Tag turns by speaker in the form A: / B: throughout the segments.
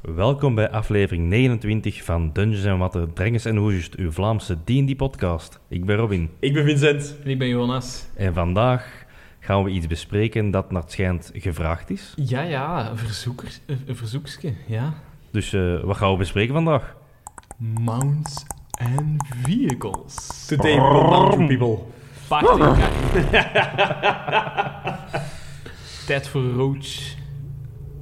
A: Welkom bij aflevering 29 van Dungeons en Watten, Drengens en Hoesjes, uw Vlaamse D&D-podcast. Ik ben Robin
B: Ik ben Vincent.
C: En ik ben Jonas.
A: en vandaag gaan we iets bespreken dat naar het schijnt gevraagd is.
C: Ja, ja, een, verzoeker, een, een verzoekske, ja.
A: Dus eh, wat gaan we bespreken vandaag?
C: Mounts and vehicles.
B: Today we will mount you people.
C: Paardenkar. Tijd voor Roach.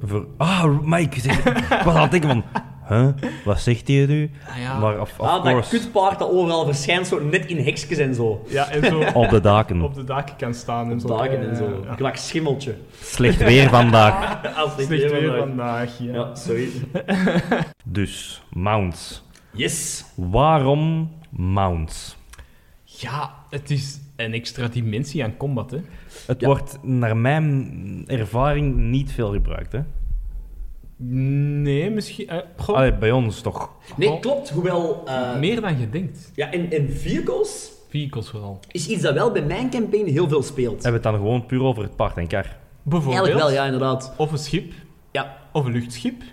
A: Voor... Ah, Mike, zeg... wat had ik van... Huh? Wat zegt hij nu?
C: Ah, ja.
A: Maar of, of
B: Ah, dat
A: course,
B: kutpaard dat overal verschijnt, zo net in heksjes en zo.
C: Ja, en zo
A: op de daken.
C: op de daken kan staan. En zo.
B: Dagen
C: Ja,
B: en zo.
C: ja.
B: Kwak schimmeltje.
A: Slecht weer vandaag.
B: Als dit
C: Slecht weer
B: helemaal-
C: vandaag, ja.
B: Ja, sorry.
A: Dus, mounts.
B: Yes.
A: Waarom mounts?
C: Ja, het is een extra dimensie aan combat, hè.
A: Het wordt naar mijn ervaring niet veel gebruikt, hè?
C: Nee, misschien... eh, goh,
A: Allee, bij ons toch.
B: Nee,
C: Oh.
B: klopt. Hoewel... eh,
C: meer dan je denkt.
B: Ja, en, en vehicles
C: Vehicles vooral.
B: is iets dat wel bij mijn campaign heel veel speelt.
A: Hebben we het dan gewoon puur over het paard en kar?
C: Bijvoorbeeld.
B: Eigenlijk wel, ja, inderdaad.
C: Of een schip.
B: Ja.
C: Of een luchtschip.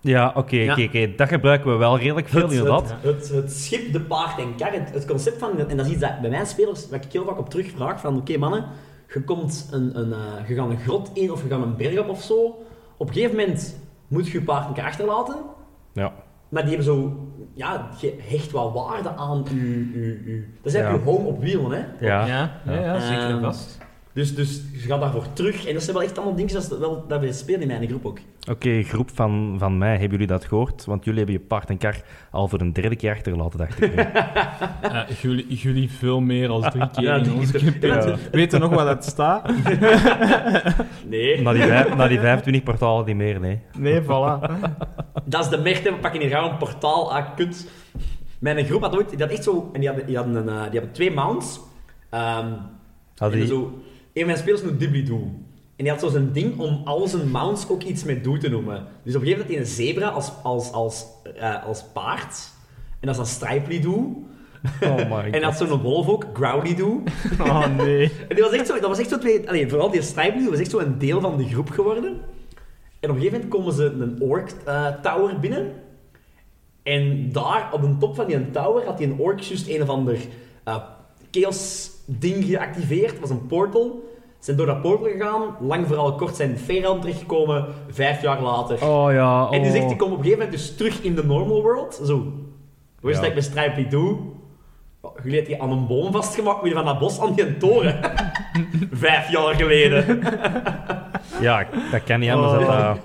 A: Ja, oké,
B: Ja.
A: oké, oké. Dat gebruiken we wel redelijk veel,
B: Het-
A: inderdaad.
B: Het, het, het schip, de paard en kar, het, het concept van... En dat is iets dat bij mijn spelers, waar ik heel vaak op terugvraag, van oké mannen, je, komt een, een, eh, je gaat een grot in of je gaat een berg op of zo. Op een gegeven moment moet je je paard en kar achterlaten,
A: Ja.
B: maar die hebben zo... Ja, je hecht wat waarde aan je... je, je dat is eigenlijk
A: Ja.
B: je home op wielen, hè.
A: Ja.
C: ja, ja, ja, zeker en
B: Ehm,
C: vast.
B: Dus, dus je gaat daarvoor terug. En dat zijn wel echt allemaal dingen dat, wel, dat we spelen in mijn groep ook.
A: Oké, groep van, van mij, hebben jullie dat gehoord? Want jullie hebben je paard en kar al voor een derde keer achterlaten, dacht ik. nu.
C: Ja, Eh, jullie, jullie veel meer als drie keer
B: Ja,
C: in
B: drie
C: onze
B: keer.
C: campaign.
B: Ja.
C: Weet je nog waar dat staat?
B: Nee.
A: na, die vijf, na die 25 portalen niet meer, nee.
C: Nee, voilà.
B: Dat is de merk, hè. we pakken hier gauw een portaal aan kut. Mijn groep had ooit, die had echt zo, en die hadden, die hadden, een, eh, die hadden twee mounts. Ehm
A: Had
B: en
A: die-
B: zo, een van mijn spelers noemt Dibbly Doo. En die had zo zijn ding om al zijn mounts ook iets met Doo te noemen. Dus op een gegeven moment had hij een zebra als, als, als, eh, als paard. En dat is dan Stripely Doo.
A: Oh my god.
B: En had zo'n wolf ook, Growly Doo.
C: Oh nee.
B: En die was echt zo, dat was echt zo twee... Allee, vooral die Stripely Doo was echt zo een deel van de groep geworden. En op een gegeven moment komen ze een ork eh, tower binnen. En daar, op de top van die tower, had die een ork juist een of ander eh, chaos ding geactiveerd. Het was een portal. Ze zijn door dat portal gegaan. Lang vooral kort zijn in Feyran terechtgekomen. Vijf jaar later.
A: Oh ja, oh.
B: En die zegt, die komen op een gegeven moment dus terug in de normal world. Zo. Hoe is
A: Ja.
B: dat ik mijn Stripely doe? Oh, Jullie hebben die aan een boom vastgemaakt, moet je van dat bos aan die toren. Vijf jaar geleden.
A: Ja, dat kan niet anders.
C: Oh.
A: dat dat-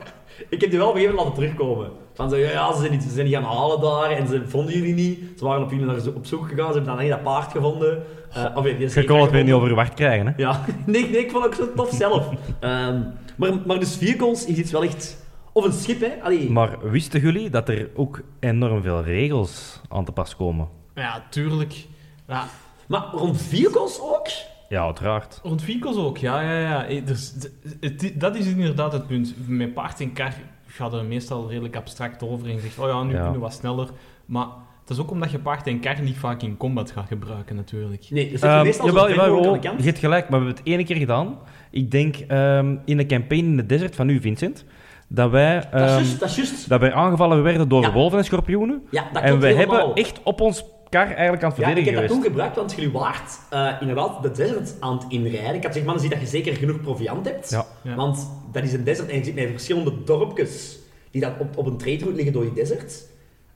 B: Ik heb die wel op een gegeven moment laten terugkomen. Van zo, ja, ja, ze zijn, niet, ze zijn niet gaan halen daar en ze vonden jullie niet. Ze waren op jullie naar zo- op zoek gegaan, ze hebben dan alleen dat paard gevonden. Eh, of nee, die
A: Je kon het weer niet overwacht krijgen, hè.
B: Ja, nee, nee, ik vond het ook zo tof zelf. Ehm, maar, maar dus vehicles is iets wel echt... Of een schip, hè. Allee,
A: Maar wisten jullie dat er ook enorm veel regels aan te pas komen?
C: Ja, tuurlijk. Ja,
B: maar rond vehicles ook?
A: Ja, uiteraard.
C: rond vehicles ook, ja, ja, ja. Eh, Dus, d- het i- dat is inderdaad het punt. Met paard en kar gaat er meestal redelijk abstract over en zegt, oh ja, nu
A: Ja.
C: kunnen we wat sneller. Maar het is ook omdat je paard en kar niet vaak in combat gaat gebruiken, natuurlijk.
B: Nee, dat zit je
A: Ehm,
B: meestal
A: jawel,
B: zo ver
A: jawel,
B: mogelijk aan
A: jawel.
B: de kant.
A: Je hebt gelijk, maar we hebben het ene keer gedaan. Ik denk ehm, in een campaign in de desert van u, Vincent, dat wij,
B: Dat
A: ehm,
B: is juist, dat is juist.
A: dat wij aangevallen werden door
B: Ja.
A: wolven en schorpioenen.
B: Ja, dat
A: en
B: klopt
A: we
B: helemaal.
A: hebben echt op ons kar eigenlijk aan het
B: Ja, ik
A: verdedigen
B: heb dat
A: geweest.
B: toen gebruikt, want jullie waart eh, inderdaad de desert aan het inrijden. Ik had gezegd, man, zie dat je zeker genoeg proviant hebt.
A: Ja.
C: Ja.
B: Want dat is een desert en je zit met verschillende dorpjes die dan op, op een trade liggen door die desert.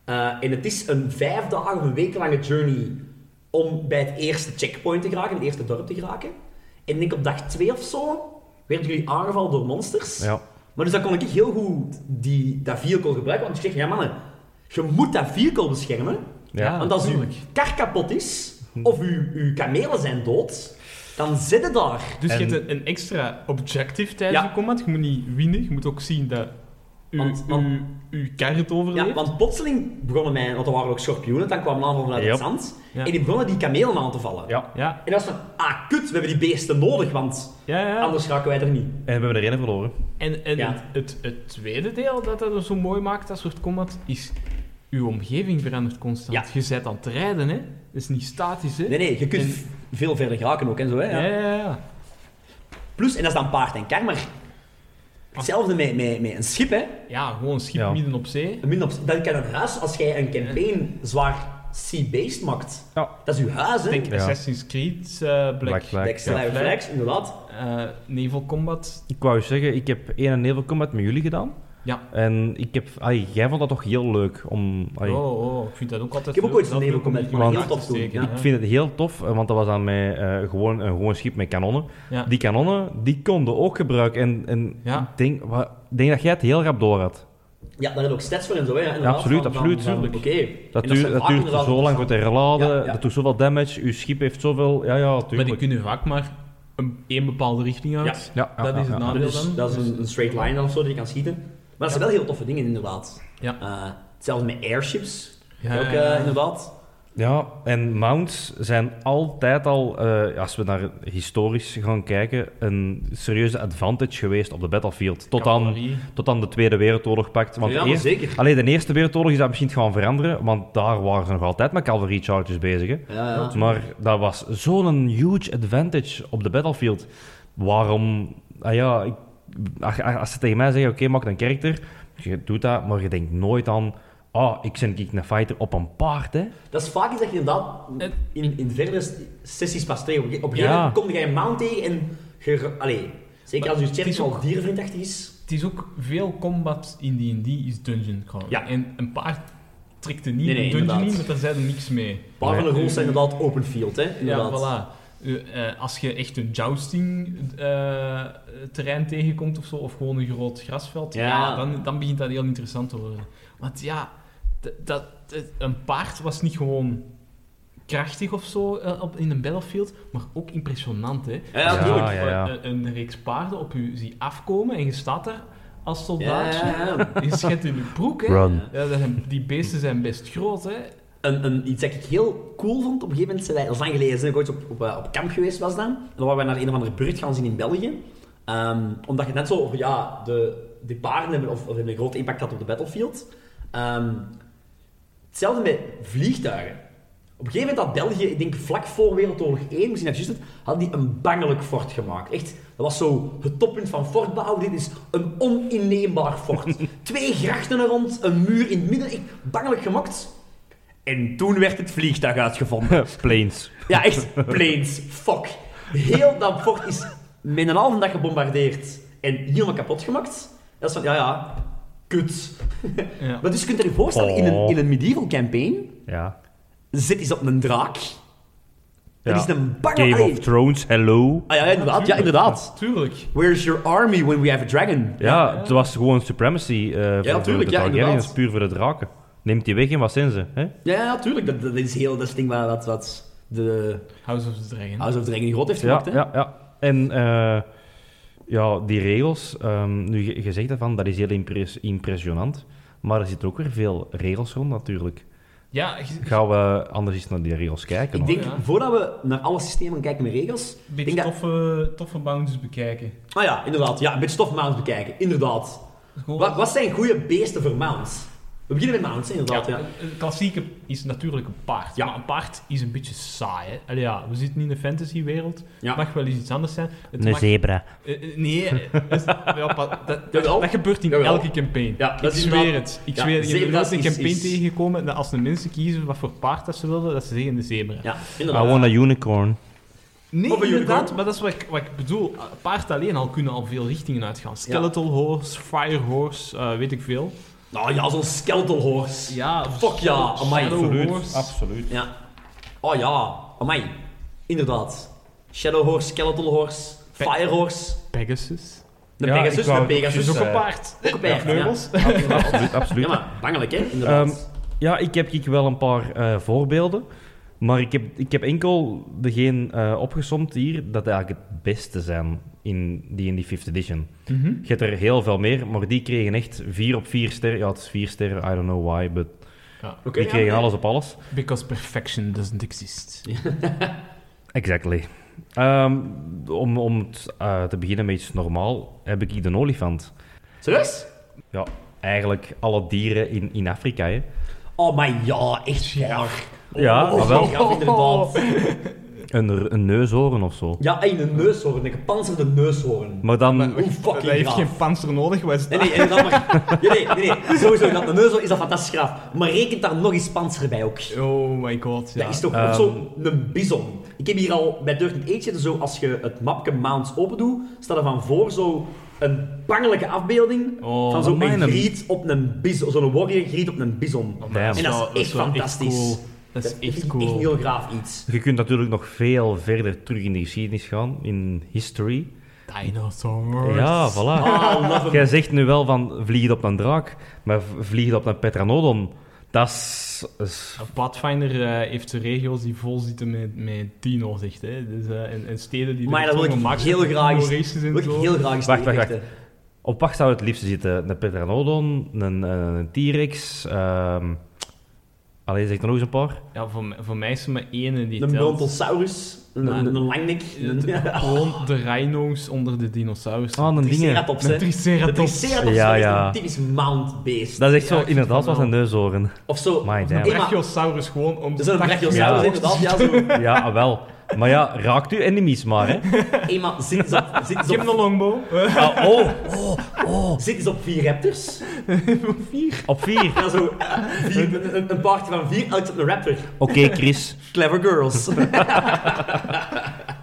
B: Eh, en het is een vijf dagen of een week lange journey om bij het eerste checkpoint te geraken, het eerste dorp te geraken. En ik denk op dag twee of zo werden jullie aangevallen door monsters.
A: Ja.
B: Maar dus dan kon ik heel goed die, dat vehicle gebruiken, want ik zeg, ja mannen, je moet dat vehicle beschermen.
A: Ja.
B: Want als uw
C: tuurlijk.
B: kar kapot is, of uw, uw kamelen zijn dood, dan zit het daar.
C: Dus je
A: En-
C: hebt een, een extra objective tijdens
B: Ja.
C: je combat. Je moet niet winnen, je moet ook zien dat je
B: Want- want-
C: kar het overleeft.
B: Ja, want plotseling begonnen mij, want er waren ook schorpioenen, dan kwamen aanval vanuit het
A: Yep.
B: zand,
C: Ja.
B: en die begonnen die kamelen aan te vallen.
A: Ja.
C: ja,
B: En dat was van, ah kut, we hebben die beesten nodig, want
C: ja, ja.
B: anders raken wij er niet.
A: En we hebben de rennen verloren.
C: En, en
B: Ja.
C: het, het, het tweede deel dat dat zo mooi maakt, dat soort combat, is uw omgeving verandert constant.
B: Ja.
C: Je bent aan het rijden, hè? Dat is niet statisch, hè?
B: Nee, nee, je kunt
C: En-
B: veel verder geraken ook en zo. Hè,
C: Ja, Ah.
B: ja.
C: ja, ja.
B: Plus, en dat is dan paard en kar, maar hetzelfde met, met, met een schip. Hè.
C: Ja, gewoon een schip
A: Ja.
C: midden op zee.
B: Min op, dat kan een huis, als jij een campaign zwaar sea-based maakt,
A: Ja.
B: dat is uw huis. Hè.
C: Denk
A: Ja.
C: Assassin's Creed, eh, Black,
A: Black Flag.
B: Black
A: ja.
B: Flag, Flags, inderdaad.
C: eh, Naval Combat.
A: Ik wou zeggen, ik heb één en heel combat met jullie gedaan.
C: Ja.
A: En ik heb, ai, jij vond dat toch heel leuk om... ai,
C: Oh, oh, ik vind dat ook
B: Ik
C: altijd
B: heb ook
C: leuk,
B: ooit een
C: dat
B: Naval
C: leuk om
B: Combat
C: die
B: gemaakt,
C: in
B: heel
C: achter
B: tof
C: te
B: toen,
C: steken,
A: Ik vind het heel tof, eh, want dat was dan met, eh, gewoon een gewoon schip met kanonnen.
C: Ja.
A: Die kanonnen, die konden ook gebruiken. En, en
C: Ja.
A: ik denk, wa- ik denk dat jij het heel rap door had.
B: Ja, daar heb ik stats voor en zo. Hè. Inderdaad,
A: absoluut,
B: van- van-
A: absoluut,
B: van-
A: tuurlijk.
B: Oké.
A: Dat,
B: En
A: duurt-
B: zijn
A: dat
B: vaak
A: duurt
B: inderdaad
A: zo lang voor te herladen,
B: Ja, ja.
A: dat doet zoveel damage, je schip heeft zoveel... Ja, ja,
C: Maar die
A: tuurlijk.
C: kunnen vaak maar een, één bepaalde richting uit.
A: Ja, ja,
C: dat
A: ja,
C: is het nou.
A: ja.
C: nadeel
B: Dat is,
C: dan.
B: dus dat is een, een straight line of zo die je kan schieten. Maar dat zijn wel heel toffe dingen, inderdaad.
C: Ja.
B: Eh, hetzelfde met airships.
C: Ja,
B: ook, eh,
C: ja, ja.
B: inderdaad.
A: Ja, en mounts zijn altijd al, eh, als we naar historisch gaan kijken, een serieuze advantage geweest op de battlefield. Tot aan,
C: Cavalerie.
A: tot aan de Tweede Wereldoorlog pakt. Want
B: ja, maar
A: eerst,
B: zeker.
A: alleen de Eerste Wereldoorlog is dat misschien gaan veranderen, want daar waren ze nog altijd met cavalry charges bezig. Hè.
B: Ja, ja.
A: Maar dat was zo'n huge advantage op de battlefield. Waarom... Ah ja, ik- als- als ze tegen mij zeggen, oké, maak een karakter. Je doet dat, maar je denkt nooit aan... Ah, ik ben een fighter op een paard, hè.
B: Dat is vaak iets dat je inderdaad
C: Het-
B: in, in verdere s- sessies pas tegen. Op een gegeven
A: Ja.
B: moment kom je een mount tegen en je... Allee, zeker
C: Maar
B: als je
C: het is
B: sterk al
C: ook-
B: dierenvriendachtig is.
C: Het is ook veel combat in D&D is dungeon crawling.
B: Ja.
C: En een paard trekt er niet
B: Nee, nee,
C: een dungeon
B: inderdaad.
C: in, want daar zijn er niks mee.
B: Een paar van de
A: Nee.
B: rules zijn inderdaad open field, hè.
C: Ja,
B: Inderdaad.
C: voilà. Eh, eh, als je echt een jousting eh, terrein tegenkomt of zo, of gewoon een groot grasveld, ja.
B: Ja.
C: dan, dan begint dat heel interessant te worden. Want ja, d- dat, het- een paard was niet gewoon krachtig of zo eh, op, in een battlefield, maar ook impressionant. Hè?
B: Ja,
C: Als je
A: tuurlijk.
C: een-
A: Ja, ja, ja.
C: Een, een reeks paarden op je ziet afkomen en je staat daar als
B: Ja,
C: soldaatje.
B: ja, ja.
C: Je schijnt in je broek, hè?
A: Run.
C: Ja, dat zijn- die beesten zijn best groot, hè?
B: Een, een, iets dat ik heel cool vond, op een gegeven moment, zei hij- dat is lang geleden, zijn ik ooit op, op, eh, op kamp geweest was dan. En dan waren we naar een of andere buurt gaan zien in België. Ehm, omdat je net zo, ja, de, de paarden hebben, of, of hebben een groot impact gehad op de battlefield. Ehm, hetzelfde met vliegtuigen. Op een gegeven moment had België, ik denk vlak voor Wereldoorlog 1, misschien dat juist het, hadden die een bangelijk fort gemaakt. Echt, dat was zo het toppunt van fortbouw. Dit is een oninneembaar fort. Twee grachten er rond, een muur in het midden, echt bangelijk gemaakt. En toen werd het vliegtuig uitgevonden.
A: Planes.
B: Ja, echt. Planes. Fuck. Heel dat fort is met een halve dag gebombardeerd en helemaal kapot gemaakt. Dat is van, ja, ja, kut.
C: Ja.
B: Maar dus je kunt je voorstellen, in, een,
A: Oh.
B: in een medieval campaign
A: Ja.
B: zit is op een draak.
A: Ja.
B: Dat is een banger.
A: Game
B: Allee.
A: of Thrones, hello.
B: Ah ja, inderdaad. Ja, inderdaad.
C: Tuurlijk.
B: Where's your army when we have a dragon?
A: Ja, het was gewoon supremacy eh, voor de-
B: tuurlijk,
A: de
B: ja,
A: Targaryens,
B: inderdaad.
A: puur voor de draken. Neemt die weg en wat zijn ze? Hè?
B: Ja, ja, tuurlijk. Dat, dat is heel dat ding waar wat, wat de
C: House of the Dragon.
B: House of Dragon groot heeft
A: Ja,
B: gemaakt. hè?
A: ja, ja. En eh, ja, die regels, ehm, nu je, je zegt daarvan, dat is heel impres- impressionant. Maar er zitten ook weer veel regels rond natuurlijk.
C: Ja, je-
A: Gaan we anders eens naar die regels kijken?
B: Ik
A: hoor.
B: denk,
C: Ja.
B: voordat we naar alle systemen gaan kijken met regels, denk
C: een beetje
B: dat-
C: toffe, toffe bounties bekijken.
B: Ah ja, inderdaad. Ja, een beetje stofmounts bekijken. Inderdaad.
C: Gewoon-
B: Wat, wat zijn goede beesten voor mounts? We beginnen met mounts, hè,
C: Ja,
B: inderdaad. Ja.
C: een- Een klassieke is natuurlijk een paard.
B: Ja.
C: Maar een paard is een beetje saai. Hè? Allee, ja, we zitten in de fantasywereld.
B: Ja.
C: Het mag wel eens iets anders zijn. Het
A: Een
C: mag-
A: zebra.
C: eh, eh, nee, eh, is- ja, pa- dat, dat,
B: Jawel.
C: dat gebeurt in
B: Jawel.
C: elke campaign.
B: Ja, dat
C: ik
B: is
C: zweer
B: inderdaad-
C: het. Ik
B: ja,
C: zweer het. Je hebt
B: zebra's
C: nooit een
B: is-
C: campaign
B: is-
C: tegengekomen dat als de mensen kiezen wat voor paard dat ze wilden, dat ze zeggen de zebra.
B: ja,
A: I
B: inderdaad.
A: want a unicorn.
C: Nee,
B: Of een
C: inderdaad,
B: unicorn.
C: maar dat is wat ik, wat ik bedoel. Eh, Paard alleen al kunnen al veel richtingen uitgaan. Skeletal horse, fire horse, eh, weet ik veel.
B: Nou ja, zo'n skeletal horse.
C: Ja,
B: Fuck ja, amai.
C: Shadow Horse.
A: absoluut.
B: Ja. Oh ja, amai. Inderdaad. Shadow horse, skeletal horse, fire horse.
C: Pegasus.
B: De
A: Ja, ik
B: Pegasus,
A: wou-
B: de
C: Dat
B: Pegasus.
C: is ook
A: eh,
C: een paard.
B: Ook een paard,
C: Met vleugels.
B: Ja, inderdaad.
A: Absoluut, absoluut.
B: Ja, maar bangelijk, hè? Inderdaad.
A: Ja, ik heb ik wel een paar eh, voorbeelden. Maar ik heb, ik heb enkel degene eh opgesomd hier dat die eigenlijk het beste zijn in die in die 5th edition.
C: Mhm.
A: Je hebt er heel veel meer, maar die kregen echt 4 op 4 sterren. Ja, het is 4 sterren, I don't know why, but
C: Ja.
B: Oké,
A: die
B: ja,
A: kregen
B: ja.
A: alles op alles.
C: Because perfection doesn't exist.
A: Exactly. Ehm, om om het, eh, te beginnen met iets normaal, heb ik hier de olifant.
B: Serieus?
A: Ja, eigenlijk alle dieren in, in Afrika, hè.
B: Oh, maar ja, echt waar.
A: Ja,
B: oh,
A: maar wel.
B: ja, inderdaad.
A: Een, een neushoorn of zo.
B: Ja, en een neushoorn, een gepanzerde neushoorn.
A: Maar dan...
B: Hoe fucking
C: Hij heeft
B: gaaf.
C: geen panzer nodig, wat is
B: Nee,
C: dat?
B: nee, en dat maar... nee, nee, nee, nee. Sowieso, dat een neushoorn is dat fantastisch gaaf. Maar rekent daar nog eens panzer bij ook.
C: Oh my god, ja.
B: Dat is toch
A: Ehm.
B: ook zo'n bison. Ik heb hier al bij Dirt and Age zitten, zo als je het mapje Mounds open doet, staat er van voor zo een bangelijke afbeelding
C: Oh,
B: van zo'n
A: amai, een-
B: griet op een bison. Zo'n warrior griet op een bison.
C: Oh,
A: Damn.
C: wel-
B: En dat is echt
C: wel
B: fantastisch.
C: cool. Dat is
B: vind
C: echt
B: ik
C: cool.
B: Echt heel graaf iets.
A: Je kunt natuurlijk nog veel verder terug in de geschiedenis gaan, in history.
C: Dinosaurs.
A: Ja, voilà.
B: Ah, love 'em.
A: Jij zegt nu wel van vliegen op een draak, maar v- vliegen op een petranodon, dat is... is-
C: Pathfinder eh, heeft regio's die vol zitten met, met dino's, echt. Hè. Dus, eh, en, en steden die
B: Maar ja, dat wil ik heel graag eens-
C: Races en
B: Wil ik
C: zo.
B: heel graag eens
A: Wacht, wacht,
B: tegen
A: wacht.
B: vechten.
A: Op wacht zou het liefste zitten een petranodon, een, eh, een T-rex, ehm Allee, zeg er nog eens een paar.
C: Ja, voor, m- voor mij is er maar ene die
B: Een
C: telt.
B: brontosaurus, een,
C: Maar-
B: een, een langnek,
C: Het-
B: een,
C: Gewoon de rhino's onder de dinosaurussen.
A: Ah, een dingen.
B: triceratops.
C: Een
B: hè. De
C: triceratops.
B: triceratops
A: Ja,
B: is
A: ja.
B: een typisch mount beest.
A: Dat is echt
C: Ja,
A: zo,
C: ik vind
A: inderdaad,
C: van
A: was een neushoorn.
B: Of zo.
A: My damn.
B: Hey, maar-
C: Brachiosaurus gewoon om
B: Er zijn een
A: Ja.
B: brachiosaurus inderdaad. Ja, zo.
A: Ja, ah, wel. Maar ja, raakt u enemies maar, hè.
B: Hey, maar zit eens op, zit eens
C: Ik heb een
B: op,
C: longbow. Eh,
A: Ah, oh,
B: zit eens op vier raptors.
C: Vier.
A: op vier.
B: Ja, zo, eh, vier, een- een, een paardje van vier uit op een raptor.
A: Oké, Chris.
B: Clever girls.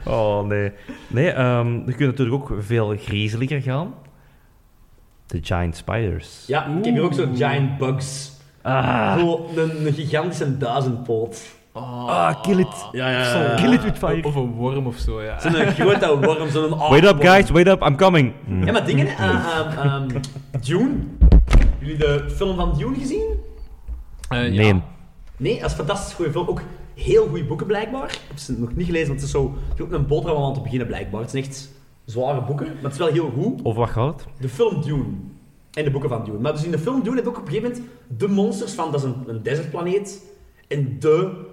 A: Oh, nee. Nee, ehm, je kunt natuurlijk ook veel griezeliger gaan. De giant spiders.
B: Ja, ik heb hier ook zo'n giant bugs.
A: Ah,
B: Zo een, een gigantische duizendpoot.
A: ah, kill it.
B: Ja,
C: Zo'n-
A: Kill it with fire.
B: oh,
C: Of een worm of zo, ja.
B: Zo'n grote worm, zo'n
A: Wait up,
B: aardworm.
A: guys. Wait up. I'm coming.
B: oh,
A: Mm.
B: Ja, maar dingen, eh, ehm, ehm, Dune. Jullie de film van Dune gezien?
C: Eh, ja.
A: Nee.
B: Nee, dat is een fantastisch goede film. Ook heel goede boeken blijkbaar. Ik heb ze nog niet gelezen, want het is zo... Het is ook een boterham om aan te beginnen blijkbaar. Het zijn echt zware boeken, maar het is wel heel goed.
A: Of wat gaat het?
B: De film Dune. En de boeken van Dune. Maar dus in de film Dune heb je ook op een gegeven moment de monsters van... Dat is een, een desertplaneet. En de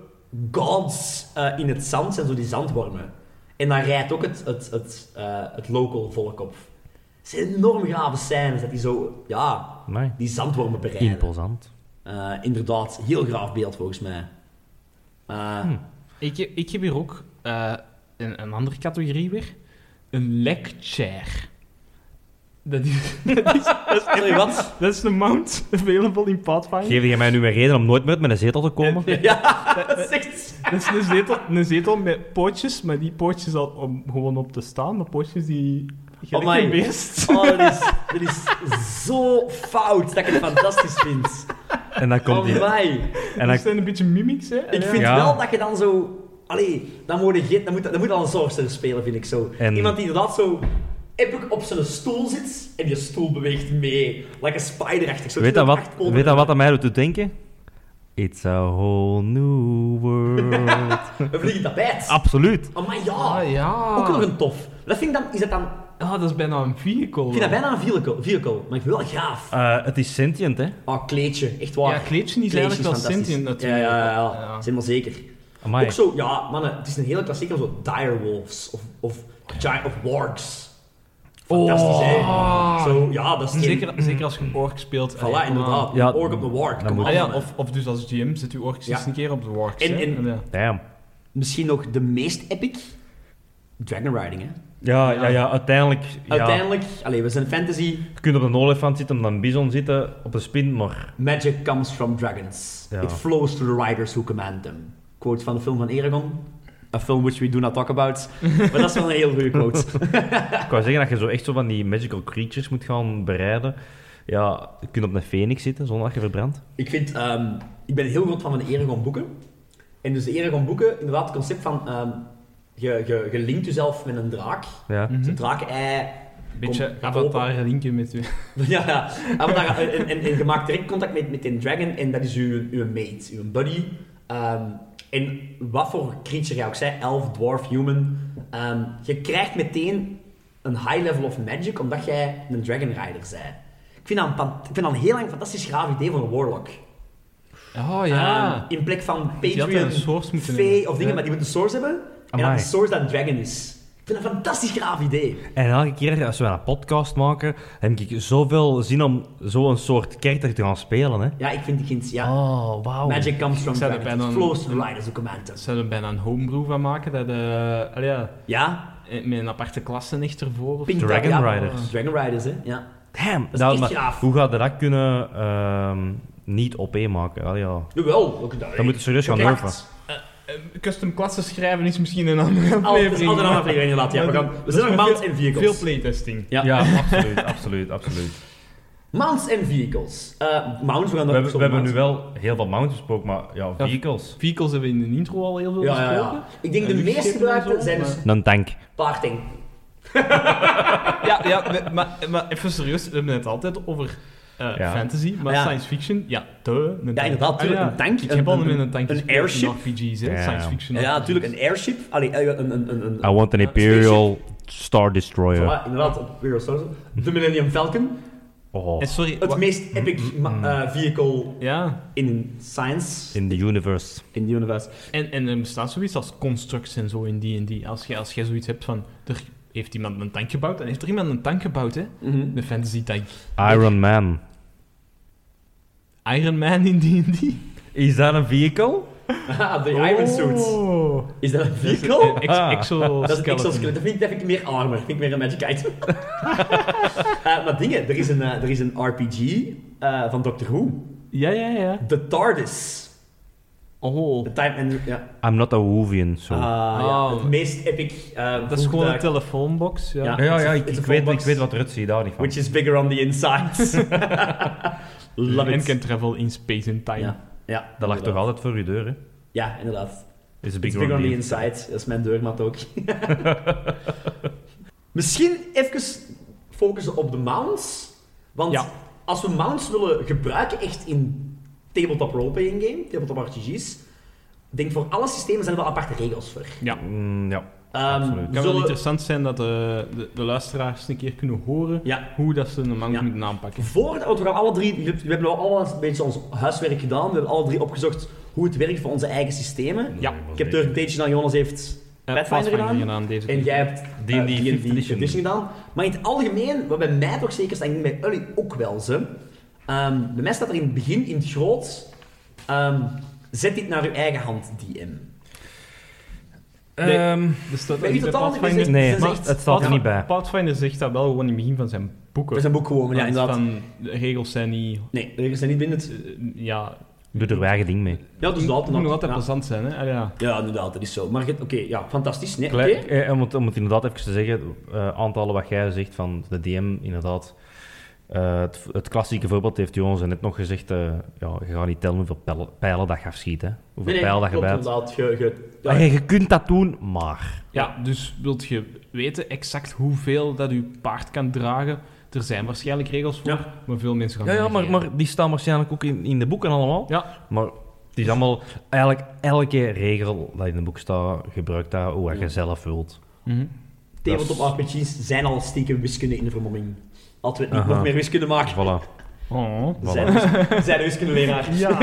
B: gods eh, in het zand zijn zo die zandwormen. En daar rijdt ook het, het, het, eh, het local volk op. Het zijn enorm grave scènes dat die zo... Ja,
A: Nee.
B: die zandwormen bereiden.
A: Imposant.
B: Eh, inderdaad, heel graaf beeld volgens mij. Eh,
C: Ik, heb- ik heb hier ook eh, een, een andere categorie weer. Een lekchair. Dat is, dat, is,
B: Sorry, wat?
C: dat is een mount available in Pathfinder.
A: Geef je mij nu een reden om nooit meer met een zetel te komen?
B: Ja, dat is echt...
C: Dat is een zetel, een zetel met pootjes, maar die pootjes al om gewoon op te staan. Maar pootjes die...
B: Oh my.
C: Een beest.
B: Oh, dat is, dat is zo fout dat ik het fantastisch vind.
A: En dan komt
B: oh
A: die.
B: mij.
A: En
C: Dus dat
A: dan...
C: zijn een beetje mimics, hè?
B: Ik
C: Ja.
B: vind
A: Ja.
B: wel dat je dan zo... Allee, dan moet, je, geen- dan moet, dan moet al een sorcerer spelen, vind ik zo.
A: En-
B: Iemand die inderdaad zo epic op zijn stoel zit en die stoel beweegt mee. Like een spiderachtig. Zo
A: Weet
B: dat
A: dat wat,
B: acht poten-
A: weet dat wat aan mij doet denken? It's a whole new world.
B: Een vliegend tapijt.
A: Ah. Absoluut.
B: Oh my ja.
C: Ah, ja.
B: Ook nog een tof. Dat vind ik dan... Is dat dan...
C: Ah, dat is bijna een vehicle.
B: Ik vind dat bijna een vehicle, vehicle maar ik vind het wel gaaf.
A: Eh, het is sentient, hè?
B: Oh, kleedje, echt waar.
C: Ja, kleedje is
B: Kleedje
C: eigenlijk wel
B: fantastisch.
C: sentient natuurlijk.
B: Ja, ja, ja, ja.
C: Ja.
B: Dat is helemaal zeker.
A: Amai.
B: Ook zo, ja, mannen, het is een hele klassieker, zo direwolves of, of, giant, of wargs. Fantastisch, hè? Zo, ja, dat is geen-
C: Oh. Zeker, zeker als je een ork speelt.
B: Voilà,
C: Allee, kom aan.
B: inderdaad.
A: Ja,
B: Ja, ork op de warg,
A: dan
B: kom
A: moet-
B: aan,
C: Ah, ja,
B: mannen.
C: of, of dus als GM zit uw orks
B: Ja.
C: eens een keer op de orks.
B: En-
C: hè.
B: en-
C: ja.
A: Damn.
B: Misschien nog de meest epic, dragon riding, hè?
A: Ja, ja, ja, uiteindelijk. Ja.
B: Uiteindelijk, allee, we zijn fantasy,
A: Je kunt op een olifant zitten, op een bison zitten, op een spin, maar...
B: magic comes from dragons.
A: Ja.
B: It flows to the riders who command them. Quote van de film van Eragon. A film which we do not talk about. maar dat is wel een heel goede quote.
A: Ik wou zeggen dat je zo echt zo van die magical creatures moet gaan bereiden. Ja, je kunt op een phoenix zitten zonder dat je verbrandt.
B: Ik vind, ehm, ik ben heel groot fan van de Eragon boeken. En dus de Eragon boeken, inderdaad het concept van, ehm, je, je, je linkt jezelf met een draak.
A: Ja.
C: Mhm.
B: Een draak-ei.
C: Beetje
B: komt open.
C: avatar linken met u.
B: Ja, ja. Ah, Avatar, en, en, en je maakt direct contact met, met een dragon en dat is uw, uw mate, uw buddy. Ehm, en wat voor creature jij ook zij, elf, dwarf, human. ehm, je krijgt meteen een high level of magic omdat jij een dragon rider bent. Ik vind dat een, fan- ik vind dat een heel lang fantastisch graaf idee van een warlock.
C: Oh ja.
B: Ehm, in plek van
C: Die hadden
B: Patreon,
C: een source moeten
B: Fey
C: hebben.
B: of dingen,
C: Ja.
B: maar die moeten een source hebben. En
A: Amai.
B: dat de source dat een dragon is. Ik vind vind dat een fantastisch graaf idee.
A: En elke keer als we een podcast maken, heb ik zoveel zin om zo'n soort character te gaan spelen. Hè?
B: Ja, ik vind die kind...
C: Ehm,
B: Ja.
A: Oh, wauw.
B: Ah, Magic comes from
C: Ik zou er
B: gravity.
C: bijna-
B: Flows to riders who command us.
C: Zou er bijna een homebrew van maken? Dat, eh, allee, ja,
B: Ja,
C: eh, met een aparte klasse echt ervoor? Of...
B: Pink
A: Dragon
B: Dahlia.
A: Riders.
B: Dragon Riders, hè. Ja.
A: Damn.
B: is
A: dat- Nou,
B: echt
A: maar
B: gaaf.
A: Hoe gaat je dat kunnen ehm, niet op één maken? Allee, ja.
B: Jawel. ook dat-
A: Dan moet je serieus gaan
B: Oké.
A: durven.
C: Eh, custom klassen schrijven is misschien een andere
B: Al- het is
C: aflevering.
B: altijd een aflevering inderdaad. Ja, we, gaan, we zijn nog
C: veel-
B: mounts en
C: Veel
B: vehicles.
C: playtesting.
A: Ja,
B: Ja.
A: absoluut, absoluut, absoluut.
B: mounts en vehicles. Eh, mounts, we gaan
A: We,
B: er
A: hebben, we
B: sorry,
A: hebben nu
B: mounts.
A: wel heel veel mounts besproken, maar ja,
C: Ja.
A: vehicles.
C: Vehicles hebben we in de intro al heel veel
B: Ja, ja,
C: besproken.
B: ja. Ik denk
C: En
B: de
C: luchtschepen
B: meest
C: en
B: gebruikte
C: zo,
B: zijn dus
C: maar-
A: Een tank.
B: paarding. Eh,
C: Ja, ja we- maar, maar even serieus, we hebben het altijd over eh,
A: Ja.
C: fantasy, maar
B: Ja.
C: science fiction, ja, duh. Een tank.
B: inderdaad, tuurlijk, een tank,
C: Ah, Ik
B: een-
C: heb al
B: een-
C: met een tank
B: een
C: gespeeld in
B: airship.
C: RPG's, hè,
A: Ja.
C: science fiction.
B: Ja,
C: RPG's.
B: natuurlijk, een airship. Allee, eh, een... een, een, een
A: I want an
B: een
A: Imperial Star Destroyer.
B: Voilà, inderdaad, op Imperial Star Wars. De Millennium Falcon.
A: Oh,
C: En sorry,
B: Het
C: wa-
B: meest epic ma- eh, vehicle
C: ja,
B: in science.
A: in the universe.
B: In the universe.
C: en, en er bestaat zoiets als constructs en zo in D&D. Als jij als jij zoiets hebt van, er heeft iemand een tank gebouwd, dan heeft er iemand een tank gebouwd, hè.
B: Mm-hmm.
C: Een fantasy tank.
A: Iron Man.
C: Iron Man in D&D.
A: Is dat een vehicle?
B: Haha, de Ah, Iron Suit.
C: Oh.
B: Is dat een
C: Eh,
B: vehicle?
C: ex-
A: Ah.
C: exoskeleton.
B: Dat is een exoskelet. Dat vind ik, dat vind ik meer armor. Vind ik meer een magic item. Eh, maar dingen, er is een, eh, er is een RPG eh, van Doctor Who.
C: Ja, ja, ja.
B: The TARDIS.
C: Oh.
B: The Time and... Ja.
A: I'm not a Woovian, so...
B: Ah, ja,
C: Oh.
B: Het meest epic... eh,
C: Dat is gewoon een
B: voertuig,
C: telefoonbox, ja.
B: Ja.
A: ja, ja, ja, ik,
B: It's a
A: ik
B: full
A: weet, ik
B: box.
A: weet wat eruit ziet, daar niet van.
B: Which is bigger on the inside. Love
C: en
B: it.
C: can travel in space and time.
B: Ja, ja,
A: Dat lag toch altijd voor je deur, hè?
B: Ja, inderdaad.
A: Is een
B: Big
A: big
B: It's big on
A: one
B: the
A: deal.
B: inside. Dat is mijn deurmat ook. Misschien even focussen op de mounts. Want
C: Ja.
B: als we mounts willen gebruiken echt in tabletop roleplaying game, tabletop RPG's, denk voor alle systemen zijn er wel aparte regels voor.
C: Ja.
A: Mm, ja.
B: Ehm,
A: Absoluut.
C: Het kan wel
B: zullen-
C: interessant zijn dat eh, de, de luisteraars een keer kunnen horen
B: Ja.
C: hoe dat ze een mount
B: Ja.
C: moeten aanpakken. Eh,
B: Voordat, want we gaan alle drie, we hebben al allemaal een beetje ons huiswerk gedaan. We hebben alle drie opgezocht hoe het werkt voor onze eigen systemen.
C: Ja.
B: Ik heb er een tijdje dan Jonas heeft
C: Eh,
B: Pathfinder gedaan?
C: deze
B: En
C: keer.
B: jij hebt
A: D&D
B: eh,
A: fifth edition.
B: edition gedaan. Maar in het algemeen, wat bij mij toch zeker staat, en ik denk bij Ully ook wel zo. ehm, bij mij staat er in het begin, in het groot, ehm, zet dit naar uw eigen hand, DM.
C: Nee.
A: Ehm,
C: Dus dat
B: Bij
C: dat
B: u
C: niet bij
B: totaal niet,
C: Pathfinder.
B: is
A: nee,
B: Ze
A: maar
B: zegt-
A: het staat er niet bij.
C: Pathfinder- Pathfinder zegt dat wel gewoon in het begin van zijn boeken.
B: Dat is een boek gewoon, ja,
C: Want
B: inderdaad.
C: Van, de regels zijn niet...
B: Nee, de regels zijn niet bindend.
C: eh, ja,
A: Doe er je eigen ding mee.
B: Ja, dus
C: moet
B: dat.
C: nog altijd
B: ja.
C: plezant zijn, hè. Ah, ja.
B: ja, inderdaad, dat is zo. Maar je- oké, ja, fantastisch. Nee,
A: Klei-
B: oké.
A: eh, om, het, om het inderdaad even te zeggen, eh, aantallen wat jij zegt van de DM, inderdaad. Eh, het, het klassieke voorbeeld heeft Jonas net nog gezegd. eh, ja, je gaat niet tellen hoeveel pijlen, pijlen dat je afschiet. Hè? Hoeveel
B: Nee, nee,
A: pijlen dat je
B: klopt,
A: bijt. Ah,
B: inderdaad. Je, je, ja,
A: Maar je- je kunt dat doen, maar...
C: Ja, dus wilt je weten exact hoeveel dat je paard kan dragen? Er zijn waarschijnlijk regels voor,
B: Ja.
C: maar veel mensen gaan
A: Ja, ja
C: er
A: maar,
C: niet
A: maar die staan waarschijnlijk ook in, in de boeken allemaal.
C: Ja.
A: Maar het is allemaal... Eigenlijk elke regel dat in een boek staat, gebruikt dat hoe
B: Ja.
A: je zelf wilt.
C: in. Mhm.
B: Tabletop RPG's zijn al stiekem wiskunde in de vermomming. Laten we het niet
A: Aha.
B: nog meer wiskunde maken.
A: Voilà.
C: Oh.
B: Zijn, wis- zijn wiskundeleraar.
C: Ja.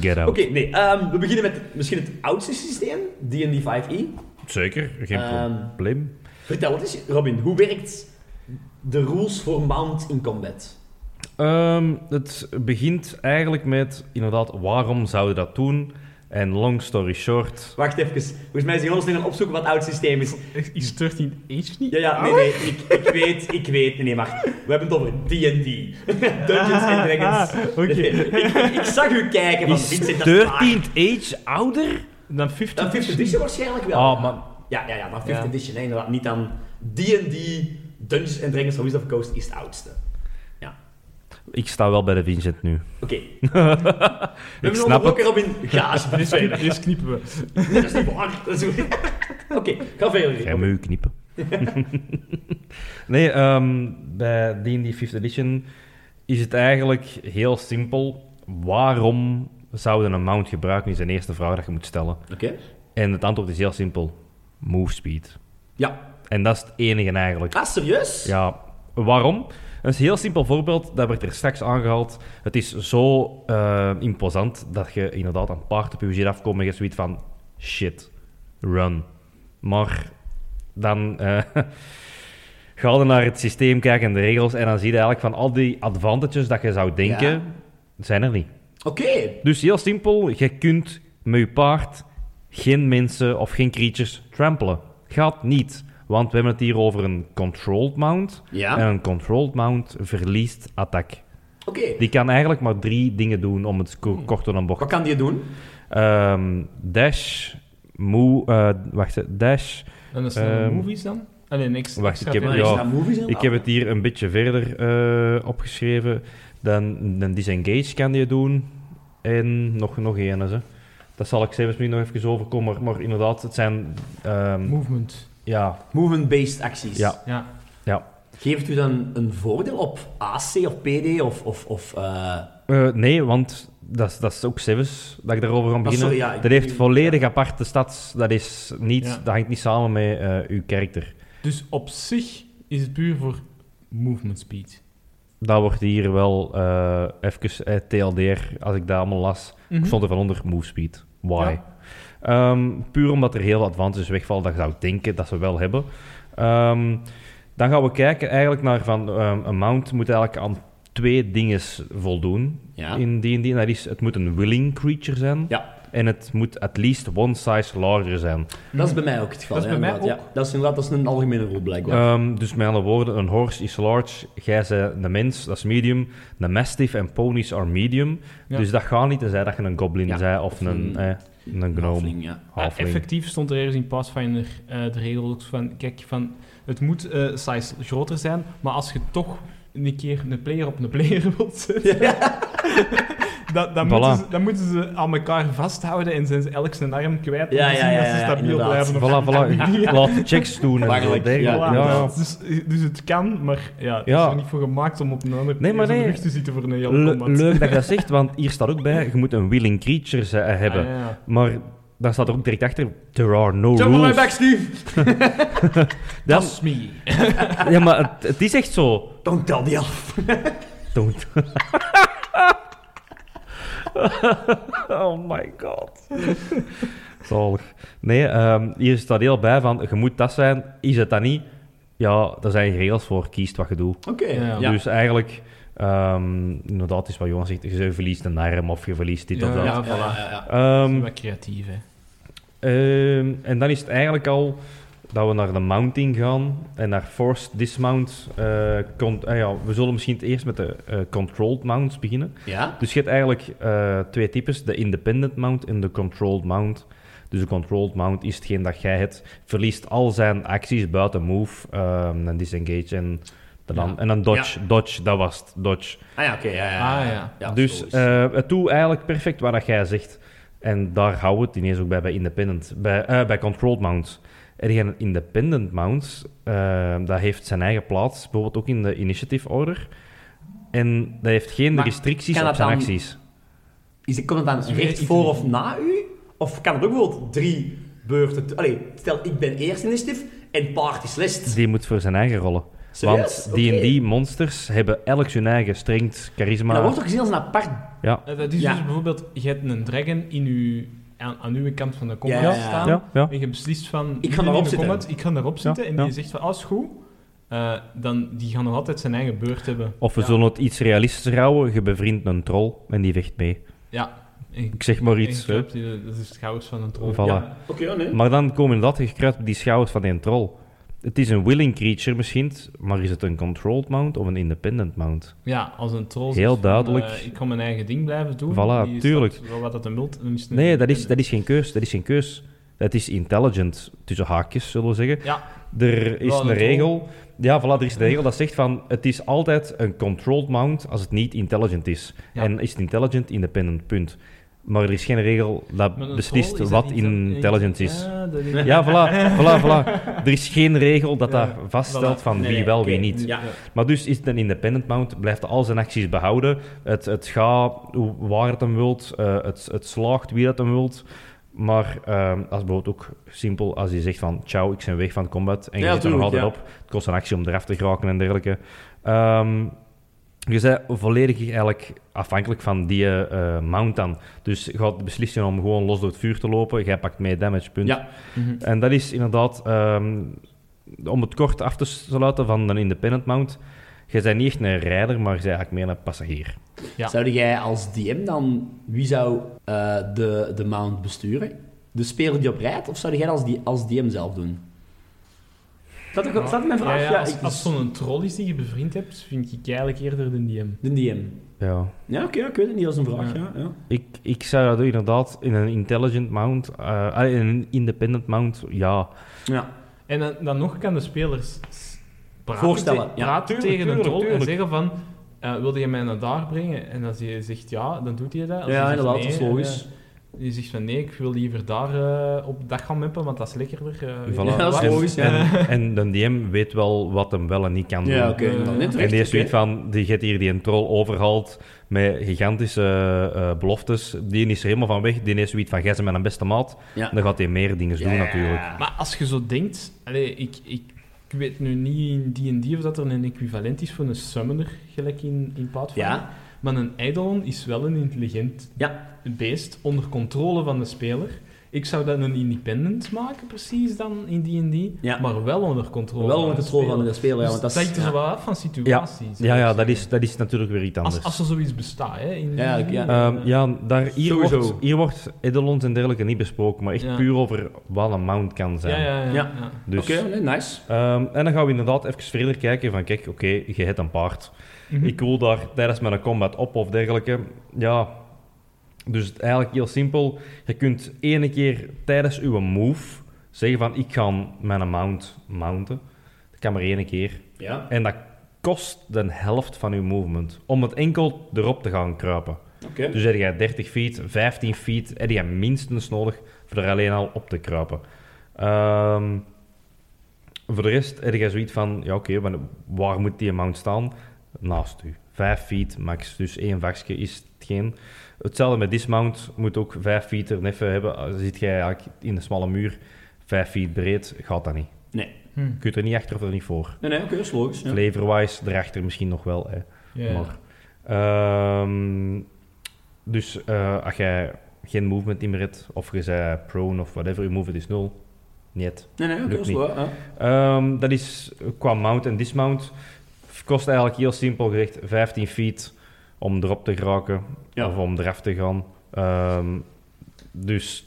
A: Get out.
B: Oké, nee. ehm, we beginnen met misschien het oudste systeem, D&D 5e.
A: Zeker, geen
B: E. Ehm,
A: probleem.
B: Vertel het eens, Robin. Hoe werkt de rules voor mount in combat?
A: Ehm, het begint eigenlijk met, inderdaad, waarom zouden we dat doen? En long story short...
B: Wacht even. Volgens mij is Jonas nu aan het opzoeken wat oud systeem is.
A: Mhm.
C: Is 13 Age niet?
B: Ja, ja, nee, nee. Ik, ik weet, ik weet. Nee, nee, maar we hebben het over D&D. Dungeons and Dragons.
C: Ah, oké.
B: Nee, ik, ik zag u kijken van
A: Is
B: Vincent, dat is waar.
A: 13th age ouder?
C: Dan 50.
B: Dan 5th edition waarschijnlijk wel.
A: Ah, maar-
B: Ja, ja, ja. Dan 5th
C: Ja.
B: edition, hè, inderdaad. Niet aan D&D, Dungeons and Dragons, Wizards of the Coast is het oudste. Ja.
A: Ik sta wel bij de Vincent nu.
B: Oké. We
A: Ik
B: hebben
A: snap
B: nog
A: het.
B: ook weer op in gaas.
C: Dit knippen, dit knippen we.
B: Dat is niet waar. Dat is goed. Oké, ga verder.
A: Jij moet je knippen. nee, ehm, bij D&D 5th edition is het eigenlijk heel simpel. Waarom zouden een mount gebruiken, is de eerste vraag dat je moet stellen.
B: Oké.
A: En het antwoord is heel simpel. Move speed.
B: Ja.
A: En dat is het enige eigenlijk.
B: Ah, serieus?
A: Ja, waarom? Dat is een heel simpel voorbeeld, dat werd er straks aangehaald. Het is zo eh, imposant dat je inderdaad een paard op je gezicht afkomt en je hebt zoiets van... Shit, run. Maar dan eh ga je naar het systeem kijken en de regels. En dan zie je eigenlijk van al die advantages dat je zou denken,
B: Ja.
A: zijn er niet.
B: Oké.
A: Dus heel simpel, je kunt met je paard geen mensen of geen creatures trampelen. Gaat niet, want we hebben het hier over een controlled mount. En
B: Ja.
A: een controlled mount verliest attack.
B: Oké.
A: Die kan eigenlijk maar drie dingen doen om het
B: Hmm.
A: ko- kort door een bocht.
B: Wat kan die doen?
A: Ehm, dash, move, eh, wacht, hè, dash.
C: En dat zijn
A: Ehm,
C: movies dan? Ah, nee, niks.
A: wacht,
C: extra
A: ik heb-
B: Maar
C: verder.
B: is
A: ja.
B: dat movies aan?
A: Ik heb het hier een beetje verder eh, opgeschreven. Dan, dan disengage kan je doen. En nog, nog één. Hè. Dat zal ik zelfs misschien nog even overkomen. Maar, maar inderdaad, het zijn... ehm,
C: Movement.
A: ja,
B: Movement-based acties.
A: ja,
C: Ja.
A: ja.
B: Geeft u dan een voordeel op AC of PD of... of, of eh,
A: Eh, nee, want dat, is- dat is ook zelfs dat ik daarover aan
B: Ah,
A: beginnen.
B: sorry, ja, ik-
A: dat heeft
B: ik-
A: volledig aparte stats. Dat, is niet,
C: Ja.
A: dat hangt niet samen met eh, uw karakter.
C: Dus op zich is het puur voor movement speed.
A: Dat wordt hier wel eh even eh, TLDR, als ik dat allemaal las.
B: Mhm.
A: Ik stond er van onder move speed. Why? Ehm, puur omdat er heel wat advantages wegvallen dat je zou denken dat ze wel hebben. Ehm, dan gaan we kijken eigenlijk naar van ehm, een mount moet eigenlijk aan twee dingen voldoen
B: Ja.
A: in D&D. En Dat is, het moet een willing creature zijn
B: Ja.
A: en het moet at least one size larger zijn.
B: Dat is bij mij ook het geval.
C: Dat is
B: hè,
C: bij mij
B: inderdaad, Ja. Dat is inderdaad dat is een algemene rol, blijkbaar.
A: Ehm, dus met andere woorden, een horse is large, jij bent een mens, dat is medium, een mastiff en ponies are medium.
C: Ja.
A: Dus dat gaat niet, tenzij dat je een goblin
B: Ja.
A: bent of een,
B: een-
A: eh, een
B: Een
A: gnome.
B: halfling, ja.
C: Ja,
A: Halfling.
C: Ah, effectief stond er ergens in Pathfinder eh, de regel ook van, kijk, van, het moet eh, size groter zijn, maar als je toch een keer een player op een player wilt zetten, dan, dan,
A: Voilà.
C: moeten ze, dan moeten ze aan elkaar vasthouden en zijn ze elk zijn arm kwijt om
B: Ja,
C: te
B: ja,
C: zien
B: ja,
C: dat ze
B: ja,
C: stabiel
B: inderdaad.
C: blijven. op
A: Voilà,
C: hun
A: voilà.
C: arm. Ja.
A: Laat checks doen en zo.
B: Waarlijk,
A: dergelijke.
B: ja,
A: Ja,
B: inderdaad.
C: Dus, dus het kan, maar ja, het
A: Ja.
C: is er niet voor gemaakt om op een andere
A: Nee, maar
C: player
A: nee.
C: rug te zitten voor een
A: ja.
C: heel
A: Le-
C: combat.
A: leuk dat je dat zegt, want hier staat ook bij, je moet een willing creature ze- eh, hebben.
C: Ah, ja, ja.
A: Maar dan staat er ook direct achter, there are no
B: Jump on my
A: rules.
B: back, Steve!
A: Dan-
C: That's me.
A: ja, maar het, het is echt zo.
B: Don't tell die af.
A: Don't. oh my god. Zalig. Nee, ehm, hier staat heel bij van, je moet dat zijn, is het dat niet? Ja, daar zijn regels voor, kiest wat je doet.
B: Oké,
C: Ja,
B: ja.
A: Dus eigenlijk, ehm, inderdaad, is wat Johan zegt. Je verliest een arm of je verliest dit of
C: Ja,
A: dat.
C: ja.
B: Ja, ja, ja, ja.
A: Ehm,
C: Wat creatief, hè.
A: ehm, en dan is het eigenlijk al dat we naar de mounting gaan en naar forced dismount. Eh, con- ah ja, we zullen misschien het eerst met de eh, controlled mounts beginnen.
B: Ja?
A: Dus je hebt eigenlijk eh, twee types, de independent mount en de controlled mount. Dus de controlled mount is hetgeen dat jij het verliest al zijn acties buiten move, ehm, en disengage en, de dan,
C: Ja.
A: en dan dodge. Dodge, dat was het, dodge.
B: Ah ja, oké. ja, ja,
C: Ah, ja.
A: dus
B: zo is-
A: eh, het doet eigenlijk perfect wat dat jij zegt. En daar houden we het ineens ook bij, bij independent. Bij, eh, bij controlled mounts. Er zijn independent mounts. eh, dat heeft zijn eigen plaats. Bijvoorbeeld ook in de initiative order. En dat heeft geen
B: Maar
A: restricties
B: kan
A: op
B: dat
A: zijn
B: dan-
A: acties.
B: Is, komt het dan
C: weer
B: recht
C: iets
B: voor
C: doen.
B: of na u? Of kan het ook bijvoorbeeld drie beurten... te- Allee, stel ik ben eerst initiatief en paard is list.
A: Die moet voor zijn eigen rollen.
B: Serieus?
A: Want
B: Oké.
A: D&D monsters hebben elk hun eigen strength,
B: En dat
A: charisma.
B: wordt ook gezien als een apart...
A: Ja,
C: Eh, Dat is
B: Ja.
C: dus bijvoorbeeld, je hebt een dragon in uw, aan, aan uw kant van de combat
B: Ja, ja, ja.
C: staan.
A: ja, ja.
C: En je beslist van...
B: Ik ga
C: ben in
B: daarop
C: de
B: zitten.
C: combat, ik ga daarop zitten. En
A: ja.
C: die zegt van, als goed. eh, dan, die gaan nog altijd zijn eigen beurt hebben.
A: Of we
B: Ja.
A: zullen het iets realistischer houden. Je bevriendt een troll en die vecht mee.
C: Ja. En-
A: Ik zeg maar
C: en
A: iets. hè.
C: je kruipt in de- Dat is het goud van een troll.
A: Voilà.
B: Ja. Oké,
C: oh,
B: ja, nee.
A: Maar dan komen inderdaad gekruid op die schouders van die troll. Het is een willing creature misschien, maar is het een controlled mount of een independent mount?
C: Ja, als een troll
A: Heel
C: zegt van,
A: duidelijk.
C: eh, ik kan mijn eigen ding blijven doen.
A: Voilà,
C: die is
A: tuurlijk.
C: dat Wel wat dat een wilt. dan is het een-
A: Nee, dat is, dat is geen keus. Dat is geen keus. Dat is intelligent, tussen haakjes zullen we zeggen.
C: Ja.
A: Er is
C: Wel,
A: een
C: een
A: regel. Ja, voilà, er is een regel dat zegt van het is altijd een controlled mount als het niet intelligent is.
C: Ja.
A: En is het intelligent, independent, punt. Maar er is geen regel
C: Maar een
A: dat beslist
C: troll, is dat
A: wat
C: intel-
A: intelligent is.
C: Ja, dat is...
A: Ja, voilà, voilà, voilà. Er is geen regel dat
C: Ja,
A: daar vaststelt
C: voilà.
A: van
B: Nee,
A: wie
B: nee,
A: wel,
B: oké.
A: wie niet.
B: Ja.
A: Maar dus is het een independent mount, blijft al zijn acties behouden. Het, het gaat hoe- waar het hem wilt, eh, het, het slaagt wie dat hem wilt. Maar ehm, als bijvoorbeeld ook simpel als je zegt van ciao, ik ben weg van combat en je
B: Ja,
A: zit er nog altijd
B: tuurlijk,
A: op. Het kost een actie om eraf te geraken en dergelijke. Ehm, je bent volledig eigenlijk afhankelijk van die eh, mount dan. Dus je gaat beslissen om gewoon los door het vuur te lopen. Jij pakt mee damage, punt.
B: Ja.
C: Mhm.
A: En dat is inderdaad ehm, om het kort af te sluiten van een independent mount, je bent niet echt een rijder, maar je bent eigenlijk meer een passagier.
C: Ja.
B: Zou jij als DM dan... Wie zou eh, de, de mount besturen? De speler die op rijdt? Of zou jij dat als, die, als DM zelf doen? Dat is dat mijn vraag.
C: Ja, ja,
B: Ja,
C: als
B: ik-
C: als zo'n troll is die je bevriend hebt, vind ik eigenlijk eerder de DM.
B: De DM.
A: Ja.
B: Ja, oké, ik weet het niet. Dat is een vraag, ja. ja.
A: Ik, ik zou dat inderdaad in een intelligent mount, eh, ah, in een independent mount, ja.
B: Ja.
C: En dan, dan nog kan de spelers s- praten,
B: Voorstellen,
C: te-
B: ja.
C: praten
A: Tuurlijk,
C: tegen een
A: tuurlijk,
C: troll en
A: tuurlijk.
C: zeggen van... eh wilde je mij naar daar brengen? En als je zegt ja, dan doet hij dat. Als
B: Ja,
C: hij zegt
B: inderdaad,
C: nee,
B: dat is logisch.
C: eh, je zegt van nee, ik wil liever daar eh, op dag gaan meppen, want dat is lekkerder. eh, weet
A: Voilà.
C: je
B: Ja, dat is
C: wat.
B: logisch, ja.
A: En de DM weet wel wat hem wel en niet kan doen.
B: Ja, oké.
C: Eh,
B: dan
C: en
B: net
A: en
B: recht,
A: die
B: oké.
A: is zoiets van, die gaat hier die een troll overhaalt met gigantische eh, eh, beloftes. Die is er helemaal van weg. Die is zoiets van, jij bent mijn beste maat.
B: Ja.
A: Dan gaat hij meer dingen
B: Ja,
A: doen
B: ja, ja.
A: natuurlijk.
C: Maar als je zo denkt... Allee, ik, ik, ik weet nu niet in D&D of dat er een equivalent is voor een summoner, gelijk in, in Pathfinder.
B: Ja.
C: Maar een Eidolon is wel een intelligent
B: Ja.
C: beest onder controle van de speler. Ik zou dat een independent maken, precies dan in DD,
B: Ja.
C: maar wel onder controle.
B: Wel onder
C: de
B: controle van
C: speler.
B: de speler, ja.
C: Dus
B: Want dat
C: dat hangt
B: is...
C: er zo
B: ja.
C: wel af van situaties.
A: Ja, ja,
C: zou ik
A: dat is,
C: zeggen.
A: dat is natuurlijk weer iets anders.
C: Als, als er zoiets bestaat, hè? In
B: Ja,
C: D&D.
B: ja.
A: Ehm, ja, daar, hier,
B: Sowieso.
A: wordt, hier wordt Edelons en dergelijke niet besproken, maar echt
C: Ja.
A: puur over wat een mount kan zijn.
C: ja, ja, ja,
B: Ja.
C: ja.
A: Dus,
B: Oké, nee, nice.
A: ehm, en dan gaan we inderdaad even verder kijken van, kijk, oké, je hebt een paard.
C: Mhm.
A: Ik wil daar tijdens mijn combat op of dergelijke. Ja, dus het eigenlijk heel simpel. Je kunt ene keer tijdens uw move zeggen van, ik ga mijn mount mounten. Dat kan maar één keer.
B: Ja.
A: En dat kost de helft van uw movement. Om het enkel erop te gaan kruipen.
B: Oké.
A: Dus heb je 30 feet, 15 feet, heb je minstens nodig voor er alleen al op te kruipen. Ehm, voor de rest heb je zoiets van, ja oké, maar waar moet die amount staan? Naast u. 5 feet max, dus één vakje is hetgeen. Hetzelfde met dismount, moet ook 5 feet er even hebben. Als Zit jij eigenlijk in een smalle muur, 5 feet breed, gaat dat niet.
C: Hm.
A: Je kunt er niet achter of er niet voor.
B: Nee, nee, oké, dat is logisch. Ja.
A: Flavorwise, erachter misschien nog wel. Hè.
C: Ja, ja.
A: Maar, ehm, dus eh, als jij geen movement in meer hebt, of je bent prone of whatever, je movement is nul. Niet.
B: Nee, nee, oké,
A: Lukt
B: dat is
A: niet.
B: waar. ja.
A: Ehm, dat is qua mount en dismount. Het kost eigenlijk heel simpel gezegd 15 feet om erop te geraken
B: Ja.
A: of om eraf te gaan. Ehm, dus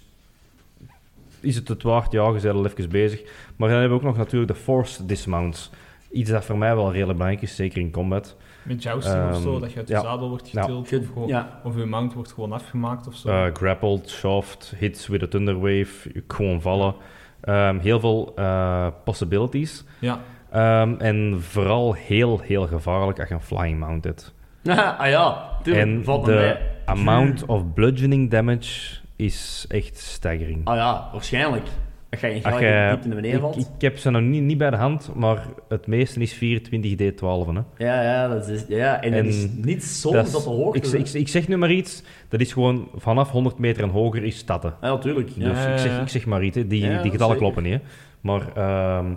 A: is het het waard? Ja, je bent al even bezig. Maar dan hebben we ook nog natuurlijk de forced dismounts. Iets dat voor mij wel redelijk belangrijk is, zeker in combat.
C: Met jousting of
A: Ehm,
C: zo, dat je uit de
A: ja.
C: zadel wordt
A: Ja.
C: getild,
B: Ge-
C: of, gewoon,
B: Ja.
C: of je mount wordt gewoon afgemaakt of zo.
A: Eh, grappled, shoved, hits with a thunderwave, gewoon vallen. Ehm, heel veel eh, possibilities.
C: ja.
A: Ehm, en vooral heel, heel gevaarlijk als je een flying mount hebt.
B: ah ja, tuurlijk,
A: en
B: valt me
A: de
B: mee.
A: amount of bludgeoning damage is echt staggering.
B: Ah ja, waarschijnlijk. Als jij in
A: Als
B: gelijk
A: je-
B: diep in de beneden
A: eh, ik,
B: valt.
A: ik heb ze nog niet, niet bij de hand, maar het meeste is 24 D12. Hè.
B: Ja, ja, dat is... Ja, en,
A: En
B: het is niet soms
A: Dat
B: dat
A: is-
B: de hoogte...
A: ik, ik, ik zeg nu maar iets, dat is gewoon vanaf 100 meter en hoger is statten.
B: Ja, natuurlijk. Ja.
A: Dus
C: ja,
A: ik,
C: ja.
A: zeg, ik zeg maar iets, hè. die,
B: Ja,
A: die
B: dat
A: getallen
B: zeker.
A: kloppen niet. Hè. Maar, ehm,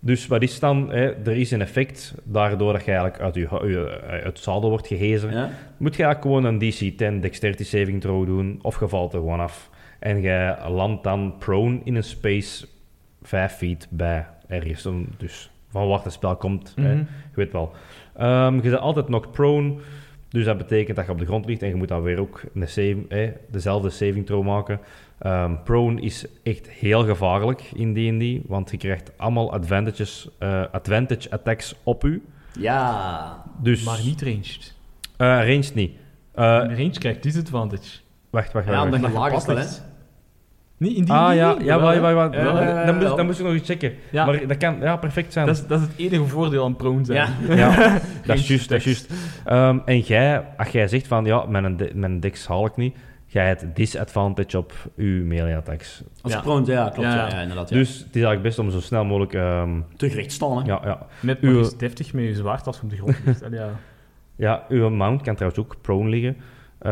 A: dus wat is dan? Hè? Er is een effect, daardoor dat je eigenlijk uit, je, hu- je- eh, uit het zadel wordt gehezen.
B: Ja.
A: Moet je eigenlijk gewoon een DC-10 dexterity saving throw doen, of je valt er gewoon af. En je landt dan prone in een space 5 feet bij ergens. Om- Dus van waar het spel komt, hè.
C: Mhm.
A: je weet wel. Ehm, je bent altijd knocked prone, dus dat betekent dat je op de grond ligt en je moet dan weer ook een save, hè, dezelfde saving throw maken. Ehm, prone is echt heel gevaarlijk in D&D, want je krijgt allemaal advantages, eh, advantage attacks op u.
B: Ja.
A: Dus,
C: Maar niet ranged.
A: eh, ranged niet. Eh,
C: ranged krijgt disadvantage.
A: Wacht, wacht,
B: Ja,
A: wacht.
B: omdat
A: wacht.
B: je lager staat, hè.
C: Niet in die
A: Ah ja,
C: die-
A: ja, wacht, wacht, wacht.
C: Jawel, hè.
A: Dan, moest, dan moest ik nog iets checken.
C: Ja.
A: Maar dat kan ja, perfect zijn.
C: Dat is, dat is het enige voordeel aan prone zijn.
B: Ja.
A: Ja, dat is
C: Geen
A: juist, dat is juist. Ehm, en jij, als jij zegt van, ja, mijn, de- mijn dex haal ik niet, jij hebt disadvantage op uw melee attacks.
B: Als
C: Ja.
B: ja. prone, ja, klopt. Ja,
C: Ja.
B: ja, inderdaad. Ja.
A: Dus het is eigenlijk best om zo snel mogelijk... ehm,
B: Terugrecht staan, hè.
A: ja, ja.
C: Met maar
A: Uwe-
C: eens deftig met je zwaard als je op de grond ligt. Allee, ja.
A: ja, uw mount kan trouwens ook prone liggen.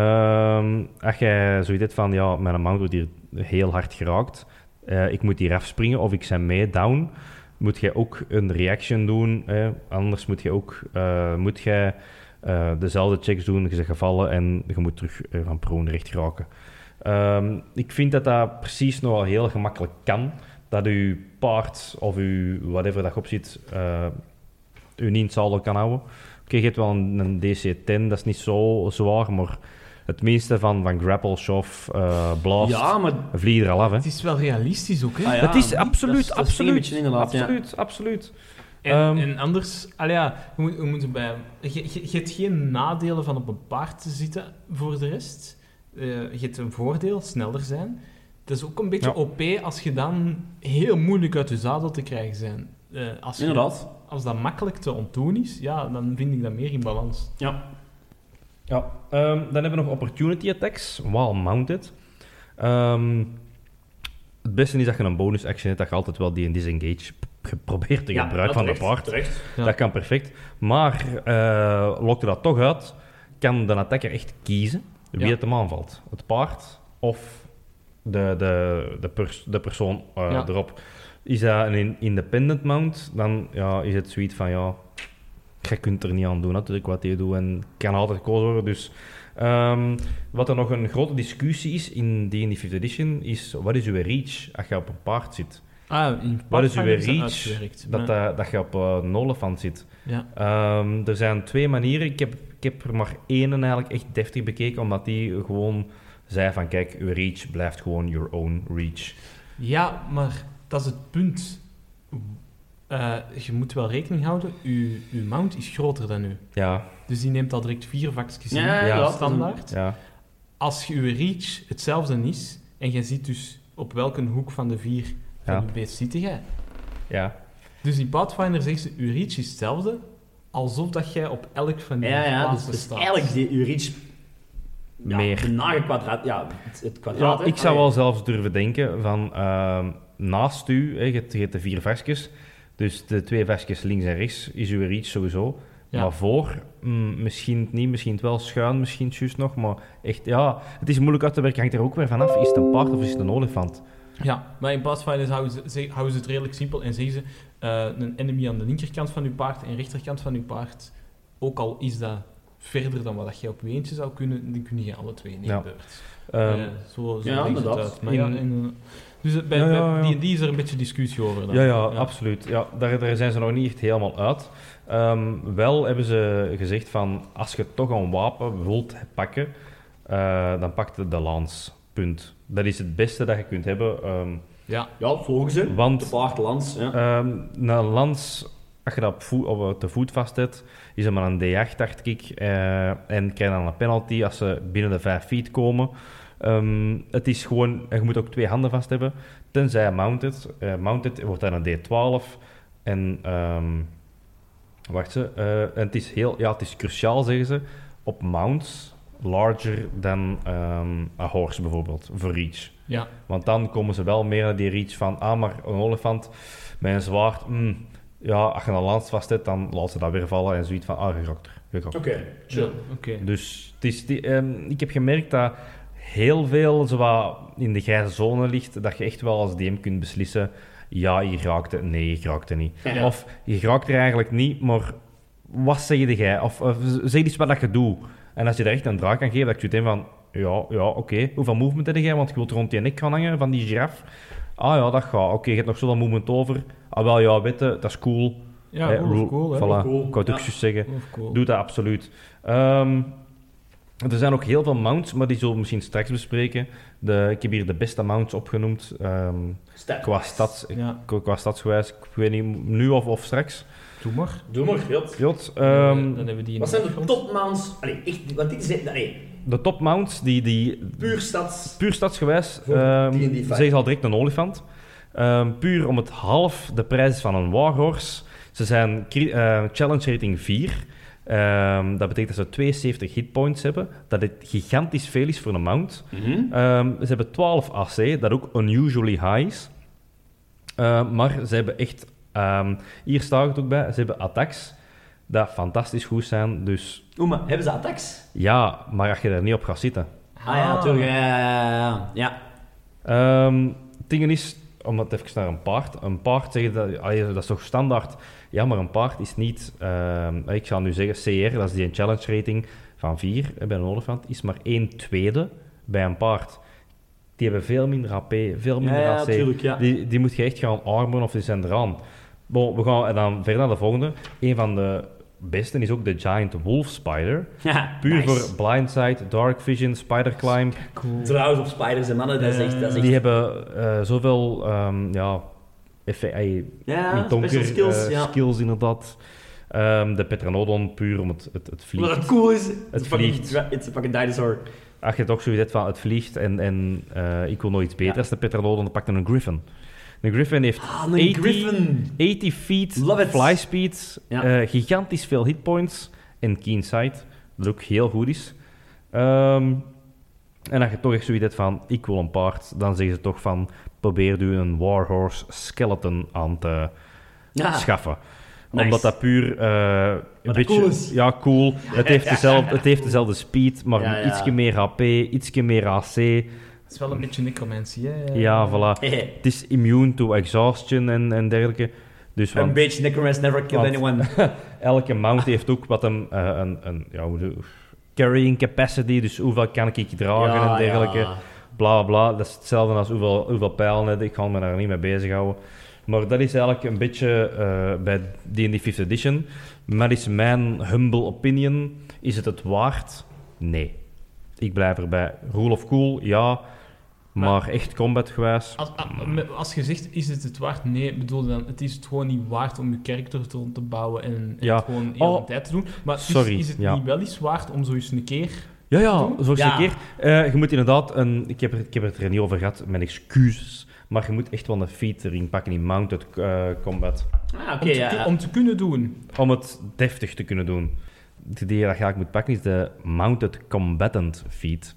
A: Ehm, als jij zoiets hebt van, ja, mijn mount wordt hier heel hard geraakt, eh, ik moet hier afspringen of ik zijn mee down, moet jij ook een reaction doen. Hè? Anders moet je ook eh, moet jij, eh, dezelfde checks doen, je bent gevallen en je moet terug eh, van prone recht geraken. Ehm, ik vind dat dat precies nogal heel gemakkelijk kan. dat uw paard of uw whatever dat je op zit, eh, u niet in het zadel kan houden. Oké, je hebt wel een, een DC-10, dat is niet zo zwaar, maar het meeste van, van grapple, shove, eh, blast,
B: Ja, maar...
A: vliegen er al af. Hè.
C: Het is wel realistisch ook, hè?
B: Ah, ja.
A: het is
B: niet?
A: absoluut,
B: Dat is- dat is een
A: absoluut,
B: beetje inderdaad, ja.
A: absoluut, absoluut.
C: En,
A: Ehm.
C: en anders, al ja, we, moet- we moeten bij. Je, je, je hebt geen nadelen van op een paard te zitten voor de rest. Eh, je hebt een voordeel, sneller zijn. Het is ook een beetje
A: Ja.
C: OP als je dan heel moeilijk uit je zadel te krijgen zijn. Eh, als, je-
B: Inderdaad.
C: als dat makkelijk te ontdoen is, ja, dan vind ik dat meer in balans.
B: Ja.
A: Ja, ehm, dan hebben we nog opportunity attacks, while mounted. Ehm, het beste is dat je een bonus action hebt, dat je altijd wel die een disengage p- probeert te
B: Ja,
A: gebruiken
B: ja,
A: van de
B: terecht,
A: paard.
B: terecht.
C: Ja.
A: Dat kan perfect. Maar eh lokt er dat toch uit, kan de attacker echt kiezen wie
C: Ja.
A: het hem aanvalt. Het paard of de, de, de, pers- de persoon eh,
C: Ja.
A: erop. Is dat een in- independent mount, dan ja, is het zoiets van ja, je kunt er niet aan doen natuurlijk wat je doet en kan altijd gekozen worden. Dus ehm, wat er nog een grote discussie is in D&D 5th edition, is wat is uw reach als je op een paard zit?
C: Ah, in
A: Wat is uw
C: Pathfinder dat
A: reach
C: uitgewerkt,
A: dat,
C: maar-
A: eh, dat je op eh, een olifant zit?
C: ja.
A: Ehm, er zijn twee manieren. Ik heb, ik heb er maar één eigenlijk echt deftig bekeken, omdat die gewoon zei van kijk, uw reach blijft gewoon your own reach.
C: ja, maar dat is het punt. Eh, je moet wel rekening houden, uw, uw mount is groter dan u.
A: Ja,
C: Dus die neemt al direct vier vakjes in.
B: Ja,
A: ja.
C: standaard.
A: ja.
C: Als je reach hetzelfde is, en je ziet dus op welke hoek van de vier van
A: Ja.
C: je beest zit jij.
A: ja.
C: Dus in Pathfinder zegt ze, je reach is hetzelfde, alsof dat jij op elk van die
B: Ja, ja. Dus,
C: plaatsen
B: dus
C: staat.
B: eigenlijk die uw reach... Ja,
A: Meer.
B: De nare kwadraat... Ja, het, het kwadraat.
A: ja
B: hè.
A: ik zou
B: Allee.
A: wel zelfs durven denken van ehm, naast u, hè, je, hebt, je hebt de vier vestjes, dus de twee vestjes links en rechts is uw reach sowieso.
C: Ja.
A: Maar voor, mm, misschien het niet, misschien het wel schuin, misschien het juist nog, maar echt, ja, het is moeilijk uit te werken, hangt er ook weer vanaf, is het een paard of is het een olifant?
C: Ja, maar in Pathfinder houden ze, ze- houden ze het redelijk simpel en zeggen ze eh, een enemy aan de linkerkant van je paard en rechterkant van je paard. Ook al is dat verder dan wat dat jij op je eentje zou kunnen, dan kun je alle twee in één
A: Ja.
C: beurt.
A: Ehm,
C: Eh, zo zo
B: ja,
C: legt het
B: inderdaad.
C: uit. Maar
A: In-
C: ja, en, eh, dus het- bij,
A: Ja,
C: bij
A: ja, ja.
C: D&D is er een beetje discussie over. dan.
A: Ja, ja, absoluut. Ja, daar, daar zijn ze nog niet echt helemaal uit. Ehm, wel hebben ze gezegd van, als je toch een wapen wilt pakken, eh, dan pak je de lans. Punt. Dat is het beste dat je kunt hebben. ehm,
C: Ja,
B: Ja, volgens ze.
A: want
B: De paard, lans. Ja.
A: ehm, een lans, als je dat op, voet, op de voet vast hebt, is het maar een D8, dacht ik. eh, en krijg dan een penalty als ze binnen de 5 feet komen. Ehm, het is gewoon, en je moet ook twee handen vast hebben. Tenzij mounted. Eh, mounted wordt dan een D12. En ehm, wacht ze. eh, en het is heel, ja, het is cruciaal, zeggen ze, op mounts larger dan ehm, een horse bijvoorbeeld, voor reach.
C: ja.
A: Want dan komen ze wel meer naar die reach van, ah, maar een olifant met een zwaard, mm, ja, als je een lans vast hebt, dan laat ze dat weer vallen en zoiets van, ah, je gokt er, je gokt er.
B: Oké,
C: ja,
B: chill.
C: oké.
A: Dus het is die, ehm, ik heb gemerkt dat heel veel zowat in de grijze zone ligt, dat je echt wel als DM kunt beslissen, ja, je raakte, nee, je raakte niet.
B: Ja.
A: Of je raakt er eigenlijk niet, maar wat zeg je jij? Of, of zeg iets wat dat je doet. En als je daar echt een draak aan geeft, dat je het in van, ja, ja, oké, hoeveel movement heb jij? Want je wilt rond die nek gaan hangen van die giraf. Ah ja, dat gaat. Oké, je hebt nog zoveel movement over. Ah wel, ja, weet je, dat is cool.
C: Ja,
A: Hè,
C: rule
A: rule-
C: of cool, hè.
A: eh, Voilà,
B: Cool.
A: ik wou het ook
B: Ja.
A: juist zeggen.
C: Rule of cool.
A: Doe dat absoluut. Ehm, er zijn ook heel veel mounts, maar die zullen we misschien straks bespreken. De, ik heb hier de beste mounts opgenoemd. ehm,
B: Step.
A: qua, stads,
C: Ja,
A: qua, qua stadsgewijs. Ik weet niet nu of, of straks.
C: doe maar.
B: Doe maar, Jot.
A: Jot, ehm,
C: dan hebben we die in
B: Wat
C: de
B: zijn de
C: grond.
B: topmounts? Allee, echt, want dit is... Nee,
A: de top mounts, die, die
B: puur stads...
A: puur stadsgewijs,
B: Voor
A: ehm,
B: die en die vijf.
A: zeggen ze al direct een olifant. Ehm, puur om het half de prijs van een warhorse. Ze zijn cri- eh, challenge rating 4. Ehm, dat betekent dat ze 72 hitpoints hebben. Dat dit gigantisch veel is voor een mount. Ehm, ze hebben 12 AC, dat ook unusually high is. Ehm, maar ze hebben echt... ehm, hier staat het ook bij, ze hebben attacks dat fantastisch goed zijn. Dus
B: Oeh, maar hebben ze attacks?
A: ja, maar als je er niet op gaat zitten...
B: Ah, ja, toch. Ja, ja, ja, ja. ja.
A: Ehm het ding is, om het even naar een paard. Een paard, zeggen dat, allee, dat is toch standaard? Ja, maar een paard is niet... ehm, ik zal nu zeggen, CR, dat is die een challenge rating van 4 bij een olifant, is maar 1 tweede bij een paard. die hebben veel minder HP, veel
B: Ja,
A: minder
B: ja,
A: AC.
B: natuurlijk, ja.
A: Die, die moet je echt gaan armen of die zijn eraan. Bon, we gaan en dan verder naar de volgende. Een van de beste is ook de Giant Wolf Spider.
B: Ja,
A: Puur
B: nice.
A: voor Blindsight, Dark Vision, Spider Climb.
C: Cool.
B: Trouwens, op spiders en mannen, dat is echt... Dat is echt
A: Die hebben eh, zoveel ehm, ja, effe- eh,
B: ja,
A: niet donker,
B: special skills,
A: eh,
B: ja.
A: skills inderdaad. Ehm, de Petranodon puur om het, het, het
B: Wat
A: vliegt.
B: dat cool is, het
A: vliegt.
B: It's a fucking dinosaur.
A: Als je toch zoiets hebt van het vliegt en, en eh, ik wil nooit iets beter als de Petranodon, dan pak dan een Griffin. Een Griffin heeft
B: Ah, een
A: 80
B: griffin.
A: 80 feet
B: Love it.
A: fly speed,
B: Ja.
A: eh, gigantisch veel hitpoints en keen sight, dat ook heel goed is. Ehm, en als je toch echt zoiets hebt van, ik wil een paard, dan zeggen ze toch van, probeer u een warhorse skeleton aan te
B: Ja.
A: schaffen.
B: Nice.
A: Omdat dat puur eh, een
B: dat
A: beetje...
B: cool is.
A: Ja, cool. Het heeft, dezelfde, het heeft dezelfde speed, maar
B: Ja, ja.
A: ietsje meer HP, ietsje meer AC.
C: Het is wel een beetje necromancy, hè?
A: Ja, voilà.
B: Hehe.
A: Het is immune to exhaustion en, en dergelijke. Dus
B: Een
A: want
B: beetje Necromancer never killed
A: Want-
B: anyone.
A: elke mount heeft ook wat een, eh, een, een ja, hoe de- carrying capacity, dus hoeveel kan ik je dragen
B: Ja,
A: en dergelijke.
B: ja.
A: Bla bla. Dat is hetzelfde als hoeveel, hoeveel pijlen heb ik. Ik ga me daar niet mee bezighouden. Maar dat is eigenlijk een beetje eh, bij D&D 5th Edition. Maar is mijn humble opinion, is het het waard? Nee. Ik blijf erbij. Rule of cool, ja. Maar echt combat-gewijs?
C: Als, a- me- als je zegt, is het het waard? Nee, ik bedoel dan, het is het gewoon niet waard om je karakter te, te bouwen en, en
A: Ja.
C: het gewoon de hele
A: Oh,
C: tijd te doen. Maar is-
A: sorry,
C: is, het
A: ja.
C: niet wel eens waard om zo eens een keer...
A: Ja, ja, zoals
B: Ja.
A: een keer. Eh, je moet inderdaad een... Ik heb, er, ik heb het er niet over gehad, mijn excuses. Maar je moet echt wel een featuring pakken in mounted eh, combat.
B: Ah, oké,
C: om, te,
B: ja.
C: kun-
B: ja.
C: om te kunnen doen?
A: Om het deftig te kunnen doen. Die die je eigenlijk moet pakken is de mounted combatant feat.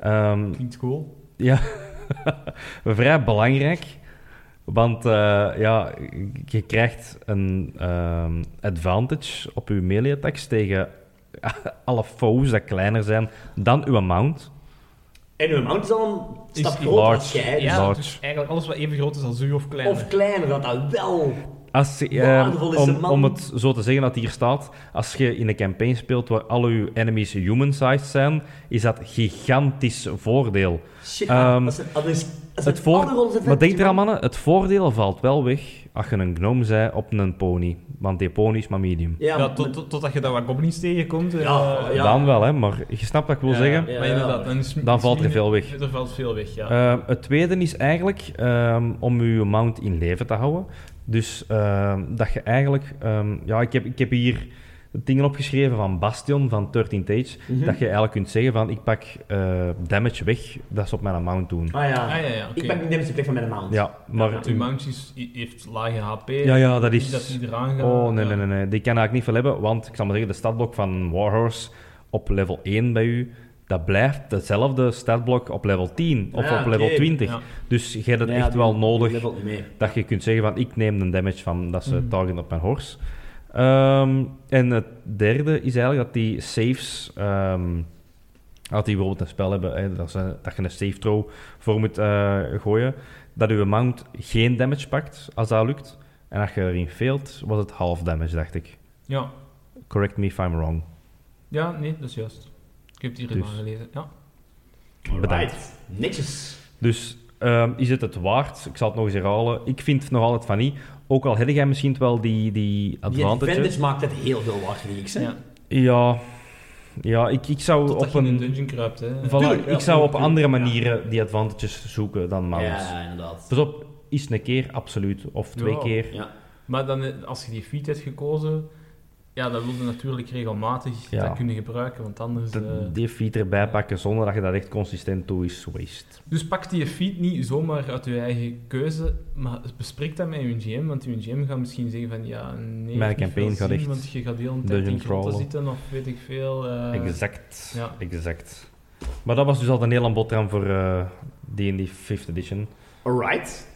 A: Ehm,
C: Klinkt cool.
A: ja, vrij belangrijk. Want eh, ja, je krijgt een ehm, advantage op je melee attacks tegen alle foes dat kleiner zijn dan uw mount.
B: En uw mount is al een
A: Is
B: stap
A: die
B: groter
A: large.
B: als jij. dus-
C: Ja,
A: large.
C: dus eigenlijk alles wat even groot is als u of kleiner.
B: Of kleiner, dat dat wel.
A: Als, je,
B: Waardevol
A: ehm,
B: is de
A: om,
B: man.
A: om het zo te zeggen dat hier staat, als je in een campaign speelt waar al je enemies human-sized zijn, is dat gigantisch voordeel.
B: Shit,
A: Ehm,
B: als het, als het, als
A: Het
B: het andere
A: voor...
B: rollen zijn,
A: Maar denk
B: man.
A: eraan mannen, het voordeel valt wel weg als je een gnome zij op een pony. Want die pony is maar oh, medium.
B: Ja,
C: Ja,
B: maar-
C: tot, tot- totdat je daar wat goblins tegenkomt. eh,
B: Ja, ja.
A: Dan wel, hè, maar je snapt wat ik wil
C: ja,
A: zeggen.
C: Maar inderdaad, dan, is,
A: Dan
C: is
A: valt er
C: minder-
A: veel weg.
C: Er valt veel weg, ja.
A: Ehm, het tweede is eigenlijk ehm, om je mount in leven te houden. Dus ehm, dat je eigenlijk... ehm, ja, ik heb, ik heb hier dingen opgeschreven van Bastion, van 13 Tage.
C: Hm.
B: Mhm.
A: Dat je eigenlijk kunt zeggen van, ik pak eh, damage weg, dat ze op mijn mount doen.
B: Ah ja.
C: ah ja, ja, oké.
B: Ik pak niet damage in plek van mijn mount.
A: Ja, maar...
C: Want uw mount is- heeft lage HP.
A: Ja, ja, dat
C: Niet dat
A: is...
C: die eraan gaat.
A: Oh, nee,
C: ja.
A: nee, nee, nee. Die kan eigenlijk niet veel hebben, want ik zal maar zeggen, de statblok van Warhorse op level 1 bij u, dat blijft hetzelfde statblok op level 10 of
B: Ah,
A: op level
B: oké,
A: 20.
C: ja.
A: Dus je hebt het
B: Ja,
A: echt
B: die-
A: wel
B: die
A: nodig
B: levelt niet mee.
A: dat je kunt zeggen van ik neem de damage van dat ze
C: Mhm.
A: target op mijn horse. Ehm, en het derde is eigenlijk dat die saves, ehm als die bijvoorbeeld een spel hebben, hè, dat, ze, dat je een save throw voor moet eh, gooien, dat je mount geen damage pakt als dat lukt. En als je erin failt, was het half damage, dacht ik.
C: Ja.
A: Correct me if I'm wrong.
C: ja, nee, dat is juist. Ik heb het hier
A: Dus.
C: dus. gelezen. Ja.
A: Bedankt.
B: Alright. Netjes.
A: Dus ehm, is het het waard? Ik zal het nog eens herhalen. Ik vind het nog altijd van niet. Ook al heb jij misschien wel die, die
B: Die
A: advantage.
B: advantage maakt het heel veel waard, vind ik. hè.
C: Ja.
A: Ja, ja ik, ik zou
C: Totdat
A: op
C: je in een
A: een.
C: dungeon kruipt, hè.
A: Voilà,
B: Tuurlijk, ja,
A: ik zou op
B: tuurlijk,
A: andere
B: tuurlijk,
A: manieren die advantages zoeken dan mounts.
B: Ja, inderdaad.
A: Pas op, is een keer absoluut, of twee
C: Ja.
A: keer.
B: Ja.
C: Maar dan, eh, als je die feat hebt gekozen, ja, dan wil je natuurlijk regelmatig
A: Ja.
C: dat kunnen gebruiken, want anders...
A: De-
C: eh,
A: die feat erbij pakken zonder dat je dat echt consistent doet, is waste.
C: Dus pak die feat niet zomaar uit je eigen keuze, maar bespreek dat met je GM, want je GM gaat misschien zeggen van, ja, nee...
A: Mijn
C: heeft niet
A: campaign
C: veel
A: gaat
C: zin,
A: echt
C: Want je gaat de hele tijd
A: dungeon
C: in grotten
A: crawlen.
C: zitten, of weet ik veel. eh,
A: exact.
C: ja.
A: Exact. Maar dat was dus al een heel aan boterham voor eh, D&D 5th edition.
B: Alright.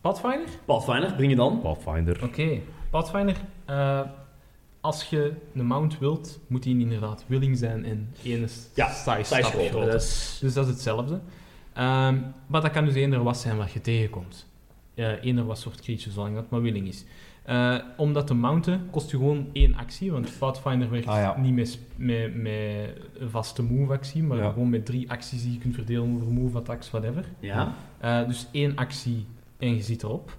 C: Pathfinder?
B: Pathfinder, breng je dan.
A: Pathfinder.
C: Oké, Pathfinder. eh, als je een mount wilt, moet die inderdaad willing zijn en ene s-
B: Ja,
C: size stap
B: Size
C: groter.
B: Dat is...
C: Dus dat is hetzelfde. Ehm, maar dat kan dus eender was zijn wat je tegenkomt. eh eender wat soort creatures, zolang dat maar willing is. Eh, om dat te mounten kost je gewoon één actie, want Pathfinder werkt
A: Ah, ja.
C: niet met, sp- met, met een vaste move-actie, maar
A: Ja.
C: gewoon met drie acties die je kunt verdelen over move, attacks, whatever.
B: Ja.
C: Eh, dus één actie en je zit erop.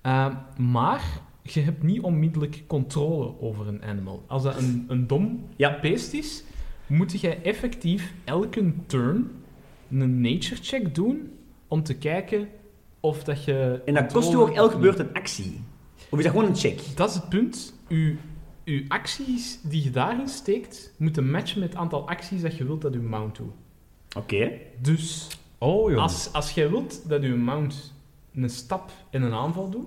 C: Eh, maar je hebt niet onmiddellijk controle over een animal. Als dat een, een dom
B: Ja.
C: beest is, moet jij effectief elke turn een nature check doen om te kijken of dat je...
B: En dat kost u
C: controle
B: ook elke
C: of
B: beurt een actie. Of is dat gewoon een check?
C: niet. Dat is het punt. Uw, uw acties die je daarin steekt, moeten matchen met het aantal acties dat je wilt dat je mount doet.
B: Oké.
C: Dus
A: Oh, joh.
C: als, als jij wilt dat je mount een stap en een aanval doet,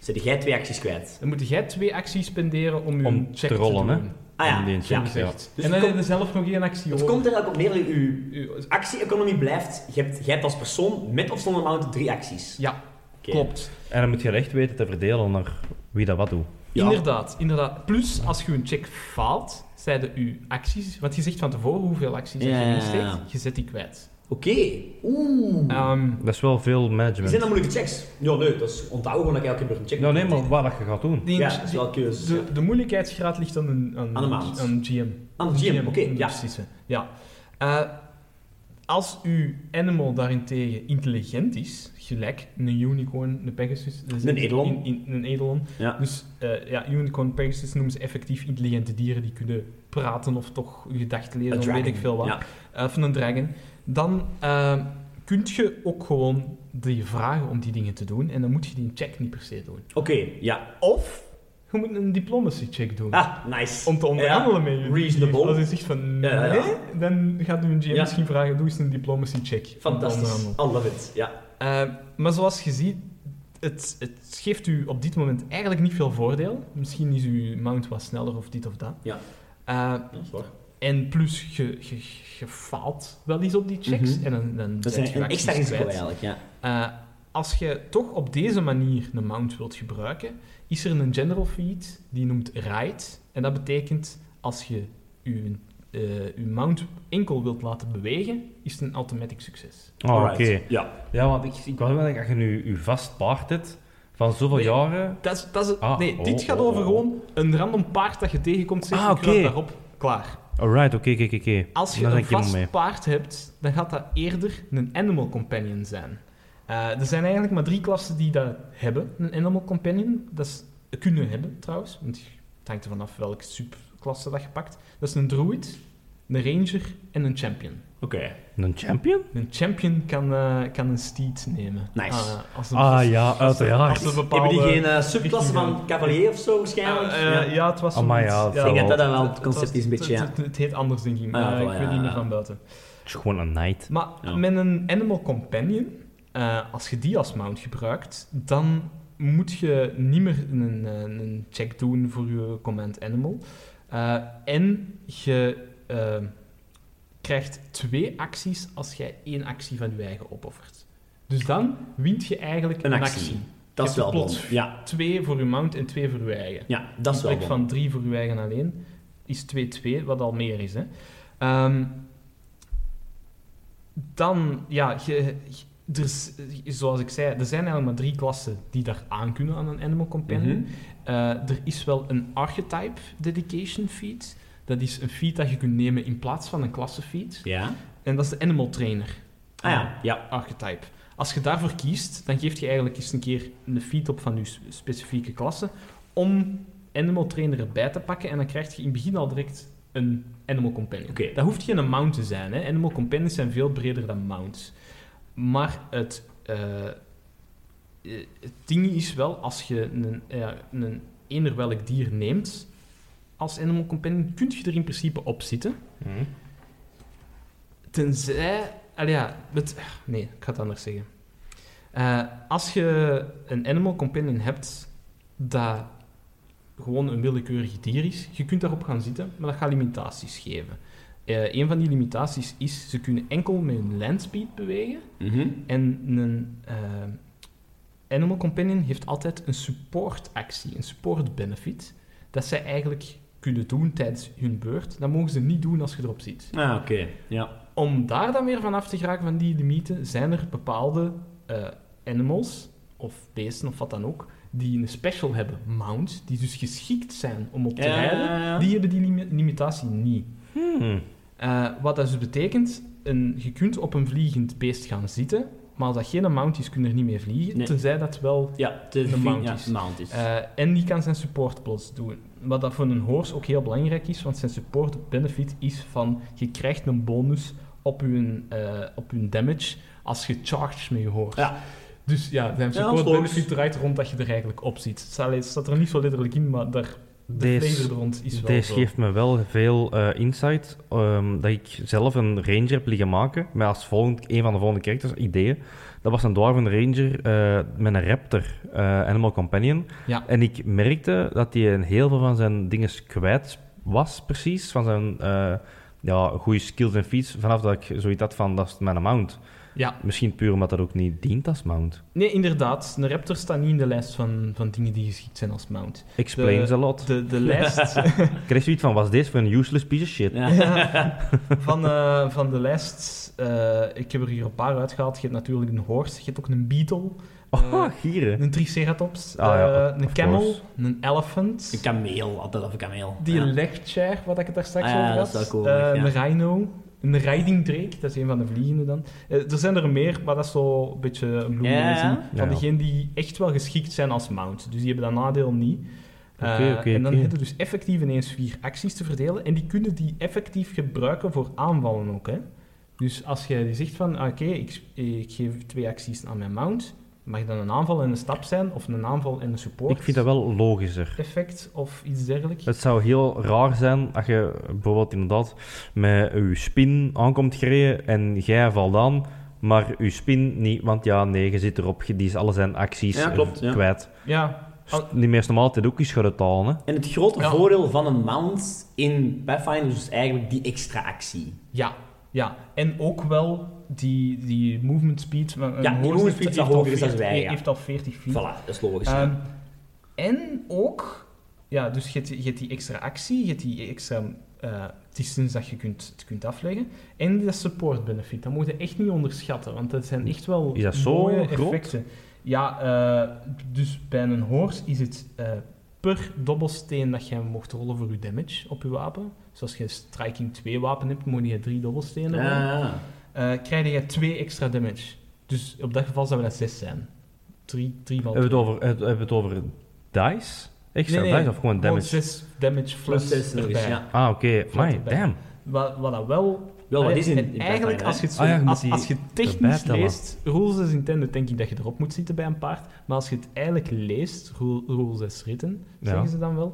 B: Zet jij twee acties kwijt?
C: Dan moet jij twee acties spenderen om je
A: Om
C: check
A: te rollen, hè?
C: doen.
B: Ah
A: Om die
B: ja.
A: een
C: Zo
A: check.
B: ja.
C: gezegd.
B: Dus
C: en eh, dan
B: het
C: heb je zelf nog één actie
B: Het
C: over.
B: komt er eigenlijk op neer dat uw
C: U-
B: actie-economie blijft. Je hebt, jij hebt als persoon met of zonder mount drie acties.
C: Ja,
B: Oké.
C: klopt.
A: En dan moet je echt weten te verdelen naar wie dat wat doet.
B: Ja.
C: Inderdaad, inderdaad. Plus, als je een check faalt, zeiden je acties... Want je zegt van tevoren hoeveel acties dat
B: Ja,
C: je
B: ja, ja.
C: insteekt. Je zet die kwijt.
B: Oké. Oeh.
C: Ehm,
A: Dat is wel veel
B: Die zijn
A: management.
B: dan moeilijke checks? Ja, nee, dat is onthouden gewoon dat je elke keer een check
A: Nou,
B: moet
A: nee, maar waar dat je gaat doen.
C: die-
B: Ja, dat is wel keus.
C: de, de moeilijkheidsgraad ligt aan een, aan,
B: Aan de maand.
C: aan GM.
B: Aan Ah, de GM, oké,
C: om
B: ja.
C: dus precies te zijn. ja. Eh, als uw animal daarentegen intelligent is, gelijk een unicorn, een pegasus... dat is
B: Een
C: iets
B: edelon.
C: in- in- een edelon.
B: Ja.
C: Dus eh, ja, unicorn pegasus noemen ze effectief intelligente dieren die kunnen praten of toch gedachten lezen,
B: Een
C: of
B: dragon.
C: weet ik veel wat.
B: Ja.
C: Eh, of een dragon. Dan eh, kun je ook gewoon die vragen om die dingen te doen en dan moet je die check niet per se doen.
B: Oké, ja.
C: Of je moet een diplomacy check doen
B: Ah, nice.
C: om te onderhandelen met je.
B: reasonable.
C: Als je zegt van nee,
B: Ja, ja, ja.
C: dan gaat u een GM
B: Ja.
C: misschien vragen, doe eens een diplomacy check. om te
B: Fantastisch. I
C: onderhandelen.
B: love it. Ja.
C: Eh, maar zoals je ziet, het, het geeft u op dit moment eigenlijk niet veel voordeel. Misschien is uw mount wat sneller of dit of dat.
B: Ja.
C: Eh,
B: Dat is waar.
C: en plus, je, je, je faalt wel eens op die checks.
B: Mhm.
C: En dan, dan
B: Dat
C: zet
B: is
C: je
B: een, een
C: acties
B: extra risico
C: kwijt.
B: eigenlijk, ja.
C: Eh, als je toch op deze manier een mount wilt gebruiken, is er een general feat die noemt ride. En dat betekent als je je, eh, je mount enkel wilt laten bewegen, is het een automatic succes.
A: Oh, oké.
B: Alright. Ja.
A: Ja, want ik, ik was wel denken, als je nu je vast paard hebt, van zoveel
C: Nee.
A: jaren...
C: Dat is, dat is,
A: Ah,
C: nee, dit
A: oh,
C: gaat
A: oh,
C: over
A: oh.
C: gewoon een random paard dat je tegenkomt. Zeg,
A: Ah,
C: ik
A: oké.
C: rap daarop, klaar.
A: Alright, oké, oké, oké, oké.
C: Als je
A: Daar ben
C: een
A: ik helemaal
C: vast
A: mee.
C: paard hebt, dan gaat dat eerder een animal companion zijn. Eh, er zijn eigenlijk maar drie klassen die dat hebben, een animal companion. Dat is, kunnen hebben trouwens, want het hangt er vanaf welke subklasse dat je pakt. Dat is een druid, een ranger en een champion.
B: Oké.
A: Een champion?
C: Een champion kan, eh, kan een steed nemen.
B: Nice.
C: Ah, als een-
A: Ah ja,
C: Als
A: uiteraard.
C: een bepaalde...
B: Hebben die geen eh, subklasse
C: richting
B: van cavalier of zo waarschijnlijk?
C: Eh, eh, ja, het was
A: Amai,
C: zoiets.
A: ja, het zal
B: Ik denk dat dat
C: het-
B: wel het
C: het
B: concept
C: was-
B: is een beetje,
C: het-
B: ja.
C: het- Het heet anders, denk ik.
B: Ah, ja,
C: maar
B: voilà,
C: ik weet niet
B: ja,
C: meer
B: ja.
C: van buiten.
A: Het is gewoon een knight.
C: Maar
B: Ja.
C: met een animal companion, eh, als je die als mount gebruikt, dan moet je niet meer een, eh, een check doen voor je command animal. Eh, en je eh, krijgt twee acties als jij één actie van je eigen opoffert. Dus dan wint je eigenlijk
B: Een
C: een
B: actie.
C: actie.
B: dat
C: je
B: is wel
C: hebt
B: bon.
C: plots-
B: Ja.
C: Twee voor je mount en twee voor je eigen.
B: ja, dat is
C: In
B: wel
C: plek
B: bon.
C: van 3 voor uw eigen alleen is 2-2, wat al meer is. Hè. Ehm, dan, ja, je, je- er is, zoals ik zei, er zijn eigenlijk maar drie klassen die daar aan kunnen aan een Animal Companion.
B: Mhm.
C: Eh, er is wel een Archetype Dedication Feat. Dat is een feat dat je kunt nemen in plaats van een klasse feat.
B: Ja.
C: En dat is de Animal Trainer
B: Ah ja, ja.
C: archetype. Als je daarvoor kiest, dan geeft je eigenlijk eens een keer een feed op van je s- specifieke klasse om Animal Trainer erbij te pakken en dan krijg je in het begin al direct een Animal Companion.
B: Oké.
C: Dat hoeft geen mount te zijn. Hè. Animal Companions zijn veel breder dan mounts. Maar het, eh, eh, het ding is wel, als je een, ja, een eender welk dier neemt als Animal Companion, kun je er in principe op zitten.
A: Hm.
C: Tenzij... Allee, ja, het, nee, ik ga het anders zeggen. Eh, als je een animal companion hebt dat gewoon een willekeurig dier is, je kunt daarop gaan zitten, maar dat gaat limitaties geven. Eh, een van die limitaties is, ze kunnen enkel met hun landspeed bewegen
B: Mhm.
C: en een eh, animal companion heeft altijd een support actie, een support benefit, dat zij eigenlijk kunnen doen tijdens hun beurt. Dat mogen ze niet doen als je erop zit.
B: Ah, oké. Ja.
C: Om daar dan weer van af te geraken van die limieten, zijn er bepaalde eh, animals of beesten of wat dan ook, die een special hebben, mounts, die dus geschikt zijn om op te
B: Ja, ja,
C: rijden,
B: ja, ja.
C: die hebben die limi- limitatie niet.
A: Hmm.
C: Eh, wat dat dus betekent, een, je kunt op een vliegend beest gaan zitten, maar als dat geen mount is, kun je er niet mee vliegen,
B: Nee.
C: tenzij dat wel...
B: Ja, de,
C: Een mount
B: ja,
C: is.
B: een mount is.
C: eh, en die kan zijn support plots doen. Wat dat voor een horse ook heel belangrijk is, want zijn support benefit is van, je krijgt een bonus op je, eh, op je damage als je charged met je horse.
B: Ja.
C: Dus ja, zijn
B: Ja,
C: support
B: als horse.
C: benefit draait rond dat je er eigenlijk op zit. Het staat- het staat er niet zo letterlijk in, maar daar, de
A: Deze-
C: flavor er rond is wel
A: Deze
C: zo.
A: geeft me wel veel eh, insight ehm, dat ik zelf een ranger heb liggen maken. Met als volgend, een van de volgende characters ideeën. Dat was een dwarven ranger eh, met een raptor, eh, Animal Companion.
C: Ja.
A: En ik merkte dat hij een heel veel van zijn dingen kwijt was, precies. Van zijn eh, ja, goede skills en feats. Vanaf dat ik zoiets had van, dat is mijn mount.
C: Ja.
A: Misschien puur omdat dat ook niet dient als mount.
C: Nee, inderdaad. Een raptor staat niet in de lijst van, van dingen die geschikt zijn als mount.
A: Explains
C: De-
A: a lot.
C: De, de lijst,
A: Ik kreeg zoiets van, was deze voor een useless piece of shit?
B: ja.
C: van, eh, van de lijst eh, ik heb er hier een paar uitgehaald. Je hebt natuurlijk een horse, je hebt ook een beetle,
A: Oh,
C: Eh,
A: gieren.
C: een triceratops,
A: Ah, ja,
C: eh,
A: of-
C: een
A: of
C: camel,
A: course.
C: een elephant,
B: Een kameel, altijd of een kameel.
C: die
B: ja.
C: legchair, wat ik het daar straks
B: Ah, ja,
C: over
B: dat
C: had,
B: is wel cool,
C: eh,
B: ja.
C: een rhino, een riding drake, dat is een van de vliegende dan. Eh, er zijn er meer, maar dat is zo een beetje een
B: Ja,
C: bloemlezing
B: ja.
A: Ja,
C: van
A: ja.
C: degenen die echt wel geschikt zijn als mount. Dus die hebben dat nadeel niet. Eh,
A: Oké, oké,
C: en dan
A: oké.
C: hebben we dus effectief ineens vier acties te verdelen. En die kunnen die effectief gebruiken voor aanvallen ook. Hè? Dus als je die zegt van, ah, oké, ik, ik geef twee acties aan mijn mount. Mag dan een aanval en een stap zijn? Of een aanval en een support
A: Ik vind dat wel logischer.
C: effect of iets dergelijks?
A: Het zou heel raar zijn als je bijvoorbeeld inderdaad met je spin aankomt gereden en jij valt aan, maar je spin niet, want ja, nee, je zit erop, je- die is alle zijn acties
B: Ja, klopt,
A: eh,
B: ja.
A: kwijt.
C: Ja, Al-
A: Die meest normaal altijd ook eens gaan uithalen, hè.
B: En het grote
C: Ja.
B: voordeel van een mount in Pathfinder is dus eigenlijk die extra actie.
C: ja, ja. En ook wel die, die movement speed. want een
B: Ja, die
C: horse
B: movement
C: heeft-
B: speed is
C: heeft
B: al
C: al
B: hoger is
C: 40
B: dan wij, ja.
C: Heeft al 40 feet.
B: Voilà, dat is logisch. ja.
C: Ehm, en ook, ja, dus je hebt, je hebt die extra actie, je hebt die extra eh distance dat je kunt, kunt afleggen. En dat support benefit, dat moet je echt niet onderschatten, want dat zijn echt wel
A: Is dat zo
C: mooie
A: groot?
C: effecten. Ja, eh, dus bij een horse is het eh, per dobbelsteen dat jij mocht rollen voor je damage op je wapen. Dus als je een striking 2 wapen hebt, moet je drie dobbelstenen rollen.
B: Ja, ja.
C: Eh, krijg je 2 extra damage. Dus op dat geval zou dat 6 zijn. 3 van
A: Hebben we het over, het- hebben we het over dice? Extra
C: Nee, nee,
A: dice of gewoon damage?
C: 6 damage
B: Plus
C: flat
B: zes nog eens,
C: erbij.
B: ja.
A: Ah, oké. Amai,
C: erbij.
A: damn.
C: Wat, wat dat wel...
B: Wel, wat
C: Allee,
B: is in,
C: en
B: in
C: Eigenlijk,
B: Pathfinder,
C: als je het, zo,
A: Ah ja, je moet
C: als,
A: die
C: als je het
A: erbij
C: technisch
A: tellen.
C: leest, rules as intended, denk ik dat je erop moet zitten bij een paard. Maar als je het eigenlijk leest, rule- rules as written,
A: Ja.
C: zeggen ze dan wel,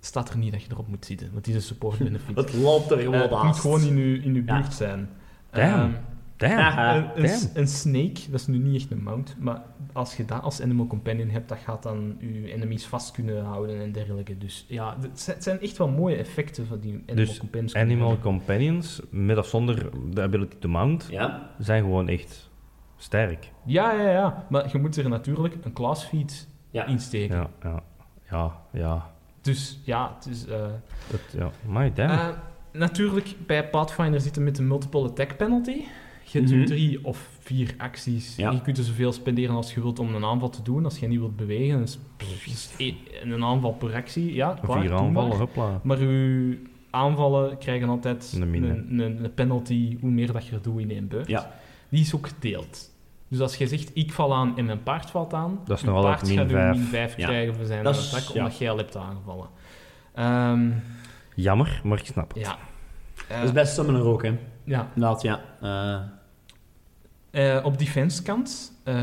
C: staat er niet dat je erop moet zitten. Want die is een support benefit.
B: hè. Het loopt er
C: Eh,
B: gewoon
C: het moet
B: naast.
C: gewoon in je, in je
B: Ja.
C: buurt zijn.
A: Damn.
C: Ehm,
A: Damn.
B: Ja. Ah,
C: een, een,
A: damn.
C: een snake, dat is nu niet echt een mount, maar als je dat als animal companion hebt, dat gaat dan je enemies vast kunnen houden en dergelijke. Dus ja, het zi- het zijn echt wel mooie effecten van die animal
A: Dus
C: companions. kunnen
A: Animal
C: hebben.
A: companions, met of zonder de ability to mount,
B: Ja,
A: zijn gewoon echt sterk.
C: Ja, ja, ja, maar je moet er natuurlijk een class feed
B: Ja.
C: in steken.
A: Ja, ja, ja. ja.
C: Dus ja, het is... eh,
A: Dat, ja. Amai, damn.
C: Eh, natuurlijk, bij Pathfinder zitten met een multiple attack penalty. Je hebt
B: Mhm.
C: drie of vier acties.
B: Ja.
C: Je kunt er zoveel spenderen als je wilt om een aanval te doen. Als je niet wilt bewegen, is pff, is e- een aanval per actie. Ja, klaar,
A: Vier
C: doe
A: aanvallen,
C: maar.
A: hopla.
C: Maar uw aanvallen krijgen altijd
A: Een
C: een,
A: min, hè.
C: een, een penalty hoe meer dat je er doet in één beurt.
B: Ja.
C: Die is ook gedeeld. Dus als je zegt, ik val aan en mijn paard valt aan,
A: Dat is
C: uw
A: nog altijd
C: paard
A: min
C: gaat uw
A: vijf.
C: min 5
B: Ja.
C: krijgen voor zijn
B: Dat is-
C: attack,
B: ja.
C: omdat jij al hebt aangevallen. Ehm,
A: Jammer, maar ik snap het.
C: ja. Eh,
B: dat is best summoner ook, hè.
C: ja.
B: Inderdaad, ja. Eh,
C: Eh, op defense kant, eh,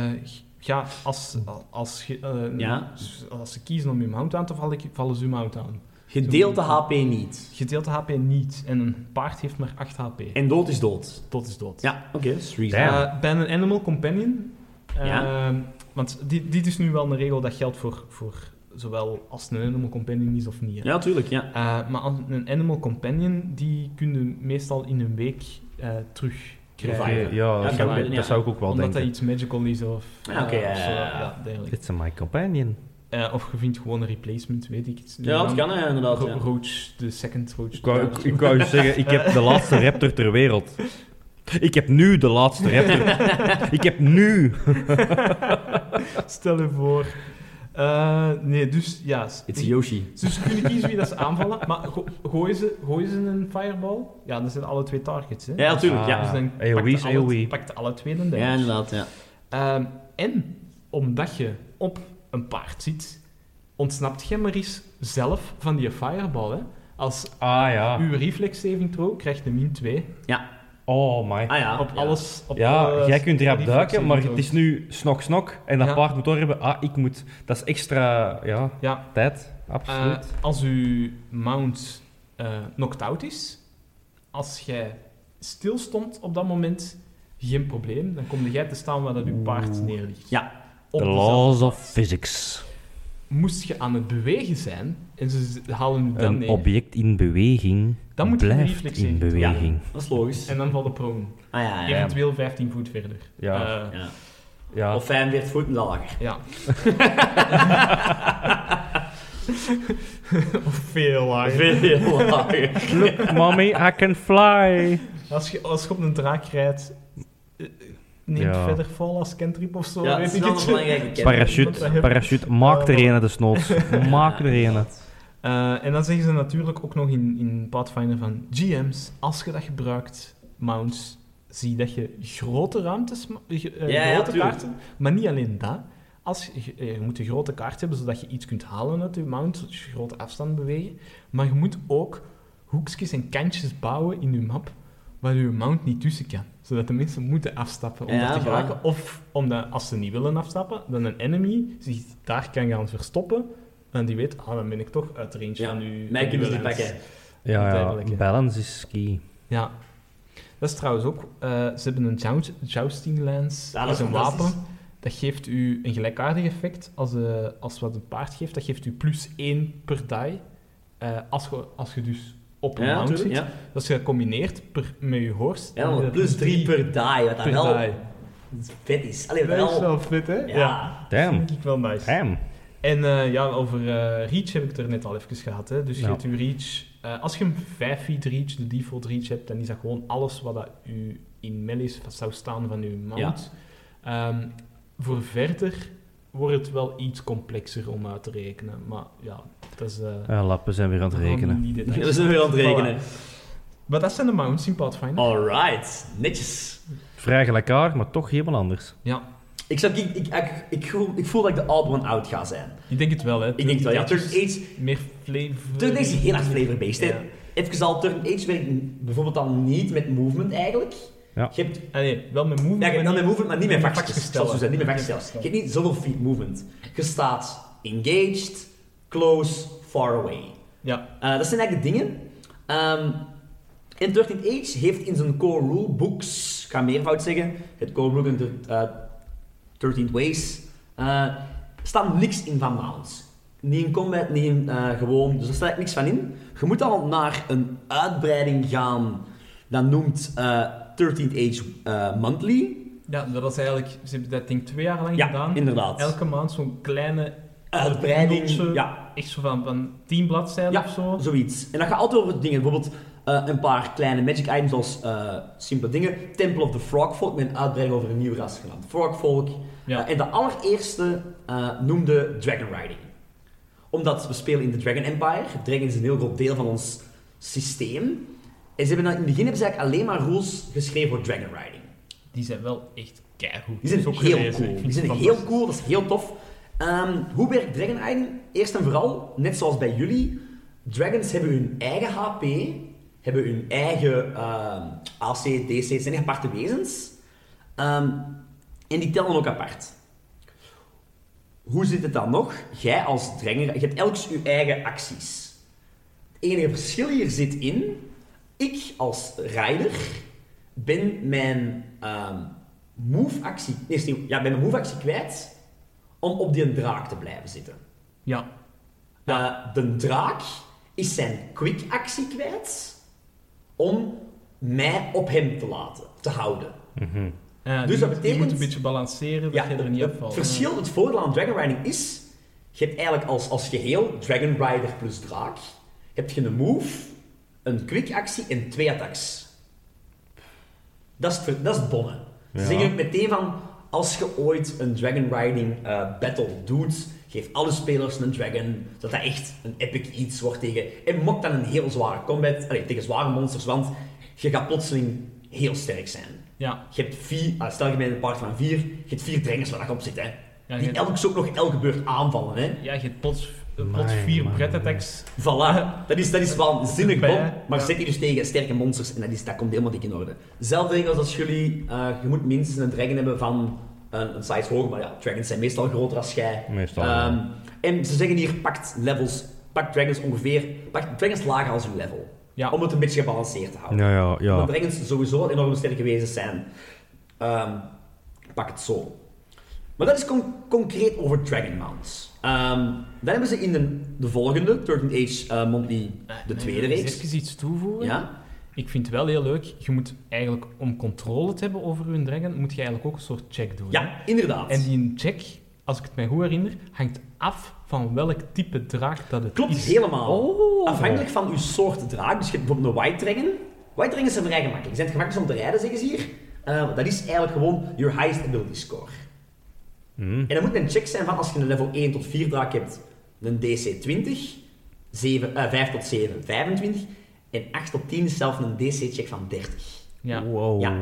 C: ja, als, als, je, eh,
B: Ja.
C: als ze kiezen om hun mount aan te vallen, vallen ze hun mount aan.
B: gedeelte HP niet.
C: Gedeelte HP niet. En een paard heeft maar 8 HP.
B: En dood is dood. Dus
C: Tot is dood.
B: Ja, oké. dat is reasonable.
A: Damn.
C: Eh, bij een animal companion, eh,
B: Ja.
C: want dit, dit is nu wel een regel dat geldt voor, voor zowel als het een animal companion is of niet. hè.
B: Ja, tuurlijk, ja.
C: Eh, maar als een animal companion, die kun je meestal in een week eh, terug
A: Oké,
C: krijgen.
B: Reviven.
A: Eh, ja,
B: Ja,
A: dat, zou, ik-
B: ja.
A: dat zou ik ook wel
C: Omdat dat
A: denken.
C: iets magical is of...
B: Ah, oké,
C: eh,
B: ja,
C: of zo,
B: ja, ja.
C: ja, dergelijke.
A: It's my companion.
C: Eh, of je vindt gewoon een replacement, weet ik het.
B: Ja, dat kan, hè, inderdaad.
C: Ro-
B: Ja.
C: Roach, de second Roach.
A: Ik wou, ik, ik wou je zeggen, ik heb de laatste raptor ter wereld. Ik heb nu de laatste raptor. Ik heb nu.
C: Stel je voor. Eh, nee, dus ja. s-
D: It's Yoshi.
C: Dus ze kunnen kiezen wie dat ze aanvallen, maar go- gooien, ze, gooien ze een fireball? Ja, dat zijn alle twee targets. Hè?
B: Ja, natuurlijk. Ja.
A: Ah.
C: Dus dan
A: AOE
C: pakte
A: is
C: alle,
A: AOE.
C: pakte alle twee een damage.
D: Ja, inderdaad, ja.
C: Ehm, en omdat je op een paard zit, ontsnapt je maar eens zelf van die fireball. Hè? Als
A: Ah ja.
C: uw reflex saving throw krijgt een min 2
A: Oh my.
B: Ah ja.
C: op
B: ja.
C: alles. Op
A: Ja,
C: alle
A: jij kunt erop
C: reflex
A: duiken,
C: saving
A: maar het
C: throws.
A: is nu snok-snok. En dat
C: Ja.
A: paard moet doorhebben. Ah, ik moet... Dat is extra ja,
C: Ja,
A: tijd.
C: eh,
A: Absoluut.
C: als uw mount eh knocked out is, als jij stil stond op dat moment, geen probleem. Dan kom jij te staan waar dat uw paard neer ligt.
D: Ja.
C: Op
A: The
C: dezelfde
A: laws of
C: plaats.
A: physics.
C: Moest je aan het bewegen zijn, en ze z- halen u dan
A: Een
C: neer.
A: object in beweging
C: Dan moet je een
A: blijft
C: reflex
A: in
C: hebben.
A: beweging.
D: Dat is logisch.
C: En dan valt de prone.
D: Ah ja, ja.
C: Eventueel 15 voet verder.
A: Ja.
C: Eh,
D: ja.
A: Ja.
B: Of 45 voet lager.
C: ja. of veel lager.
B: Veel lager.
A: Look, mommy, I can fly.
C: Als je, als je op een draak rijdt, eh, neem
A: Ja.
C: verder vol als kentrip of zo.
B: Ja, dat
C: weet
B: is
C: ik
B: wel
C: het.
B: een belangrijke kennis.
A: Parachute, parachute. Maak
B: Oh.
A: er een, desnoods. Maak er een.
C: Eh, en dan zeggen ze natuurlijk ook nog in, in Pathfinder van GM's, als je dat gebruikt, mounts, zie dat je grote ruimtes, ma- ge- eh,
B: Ja, ja,
C: grote
B: tuurlijk.
C: kaarten, maar niet alleen dat. Als je, je- eh, je moet een grote kaart hebben zodat je iets kunt halen uit je mount, dus je grote afstand bewegen. Maar je moet ook hoekjes en kantjes bouwen in je map waar je mount niet tussen kan. Zodat de mensen moeten afstappen om
D: Ja,
C: dat te
D: voilà.
C: geraken. Of omdat, als ze niet willen afstappen, dan een enemy zich daar kan gaan verstoppen. En die weet, ah, dan ben ik toch uit range
B: Ja,
C: van nu.
B: Mij kunnen ze niet pakken.
A: Ja, ja.
C: Duidelijk, hè.
A: Balance is key.
C: Ja. Dat is trouwens ook... eh, ze hebben een joust, jousting lens.
B: Ja,
C: dat
B: dat
C: is
B: is
C: een
B: fantastisch.
C: wapen. Dat geeft u een gelijkaardig effect als, eh, als wat een paard geeft. Dat geeft u plus 1 per die. eh, als, je, als je dus op een
B: Ja,
C: mount zit.
B: natuurlijk. Ja.
C: Dat is gecombineerd per, met je horst.
B: Ja,
C: Dan
B: dan
C: heb je
B: plus 3 per die, wat dat
C: per
B: wel
C: die.
B: vet is. Allee, wat
C: Dat is
B: wel...
C: wel fit, hè?
B: Ja.
C: Dat
A: Damn.
C: vind ik wel nice.
A: Damn.
C: En eh, ja, over eh, reach heb ik het er net al even gehad. Hè? Dus je
A: Ja.
C: hebt uw reach... eh, als je een 5 feet reach, de default reach hebt, dan is dat gewoon alles wat dat u in mellies zou staan van uw mount. Ehm, voor verder wordt het wel iets complexer om uit te rekenen. Maar ja, dat is... eh,
A: Ja, lappen zijn weer aan het
B: Oh,
C: we gaan
A: rekenen.
C: niet details.
B: We zijn weer aan het rekenen. Oh.
C: Maar dat zijn de mounts in Pathfinder.
B: Alright, netjes.
A: Vrij gelijkaar, maar toch helemaal anders.
C: Ja,
B: Ik, zou, ik, ik, ik, ik, voel, ik voel dat ik de Alborn out ga zijn.
C: ik denk het wel, hè.
B: Ik denk het wel, ja.
C: Dat is
B: Turn Age,
C: Meer flavor...
B: turn age is heel erg flavor-based. hè.
C: Ja.
B: Even al, Turn Age werkt bijvoorbeeld dan niet met movement eigenlijk.
A: Ja.
B: Je hebt
C: Ah, nee, wel met movement.
B: Ja, je hebt wel
C: maar
B: met movement, maar niet met
C: met
B: vakjes.
C: vakjes
B: Zoals we zijn, niet met
C: stellen.
B: vakjes. stellen. Je hebt niet zoveel feet movement. Je staat engaged, close, far away.
C: Ja,
B: Eh, dat zijn eigenlijk de dingen. Ehm en 13 Age heeft in zijn core rulebooks, ik ga meervoud zeggen, het core rulebook en de eh, 13 Ways, eh staat niks in van mounts. Niet in combat, niet in eh, gewoon, dus daar staat eigenlijk niks van in. Je moet al naar een uitbreiding gaan, dat noemt eh 13 Age eh, Monthly.
C: Ja, dat was eigenlijk, ze hebben dat ding twee jaar lang
B: Ja,
C: gedaan.
B: inderdaad.
C: Elke maand zo'n kleine
B: Uitbreiding,
C: notje,
B: ja.
C: Echt zo van, van tien bladzijden
B: Ja,
C: of zo.
B: zoiets. En dat gaat altijd over dingen. Bijvoorbeeld eh, een paar kleine magic items zoals eh, simpele dingen. Temple of the Frogfolk met een uitbreiding over een nieuw ras genaamd Frogfolk.
C: Ja.
B: Eh, en de allereerste eh, noemde Dragon Riding. Omdat we spelen in de Dragon Empire. Dragon is een heel groot deel van ons systeem. En ze hebben dan, in het begin hebben ze eigenlijk alleen maar rules geschreven voor Dragon Riding.
C: Die zijn wel echt keigoed.
B: Die zijn
C: Ik heb ze ook
B: heel
C: gelezen. Ik
B: cool.
C: vind
B: Die zijn
C: het
B: heel cool, dat is heel tof. Ehm, hoe werkt Dragon Riding? Eerst en vooral, net zoals bij jullie, Dragons hebben hun eigen HP, hebben hun eigen ehm, AC, DC, het zijn aparte wezens. Ehm, en die tellen ook apart. Hoe zit het dan nog? Jij als Dragon, je hebt elk je eigen acties. Het enige verschil hier zit in, ik als rider ben mijn ehm, move-actie, nee, is niet- ja, ben mijn move-actie kwijt om op die draak te blijven zitten.
C: Ja,
B: Eh, de draak is zijn quick-actie kwijt om mij op hem te laten, te houden.
C: Eh,
B: Dus
C: die,
B: dat
C: moet-
B: betekent-
C: Die moet een beetje balanceren, dat je er niet
B: het,
C: op valt.
B: verschil, het voordeel aan Dragon Riding is, je hebt eigenlijk als, als geheel Dragon Rider plus draak, heb je een move, een quick actie en twee attacks. Dat is het, ver- dat is het bonnen. Ze
A: Ja.
B: zeggen ook meteen van, Als je ooit een Dragon Riding eh, Battle doet, geef alle spelers een Dragon, zodat dat echt een epic iets wordt tegen. En mok dan een heel zware combat, allee, tegen zware monsters, want je gaat plotseling heel sterk zijn.
C: Eh, Ja.
B: Je hebt vier, ah, stel je bent een paard van vier, je hebt vier drengels waar dat op zit, hè.
C: Ja,
B: Die
C: je-
B: elk zo ook nog elke beurt aanvallen, hè.
C: Ja, je hebt plots, eh, plots
A: Mijn,
C: vier
A: mijn,
C: bread-attacks.
B: Voilà, dat is, dat is waanzinnig
C: Bij,
B: bom.
C: hè?
B: Maar
C: Ja.
B: zet je dus tegen sterke monsters en dat, is, dat komt helemaal dik in orde. Zelfde regels als jullie, eh, je moet minstens een dragon hebben van eh, een, een size hoger, maar ja, dragons zijn meestal groter als jij.
A: Meestal.
B: Ehm, en ze zeggen hier, pakt levels, pakt dragons ongeveer, pakt dragons lager als je level.
C: Ja.
B: Om het een beetje gebalanceerd te houden.
A: ja, ja, ja.
B: Omdat dragons sowieso al enorm sterke wezens zijn. Ehm, pak het zo. Maar dat is con- concreet over Dragon Mounts. Ehm, dan hebben ze in de, de volgende, Turtle Age eh, Monthly,
C: Ah,
B: de tweede reeks.
C: Even iets toevoegen.
B: Ja?
C: Ik vind het wel heel leuk. Je moet eigenlijk om controle te hebben over je dragon, moet je eigenlijk ook een soort check doen. hè?
B: ja, inderdaad.
C: En die check, als ik het mij goed herinner, hangt af van welk type draak dat het
B: Klopt
C: is.
B: helemaal.
C: Oh.
B: Afhankelijk van uw soort draak. Dus je hebt bijvoorbeeld een white dragon. White dragons zijn vrij gemakkelijk. Ze zijn gemakkelijk om te rijden, zeggen ze hier. Eh, want dat is eigenlijk gewoon your highest ability score.
C: Hmm.
A: Mm.
B: En dan moet een check zijn van als je een level 1 tot 4 draak hebt, een DC 20, 7, eh, 5 tot 7, 25 en 8 tot 10 is zelf een DC check van 30.
C: Ja.
B: Oh.
A: Wow.
B: Ja.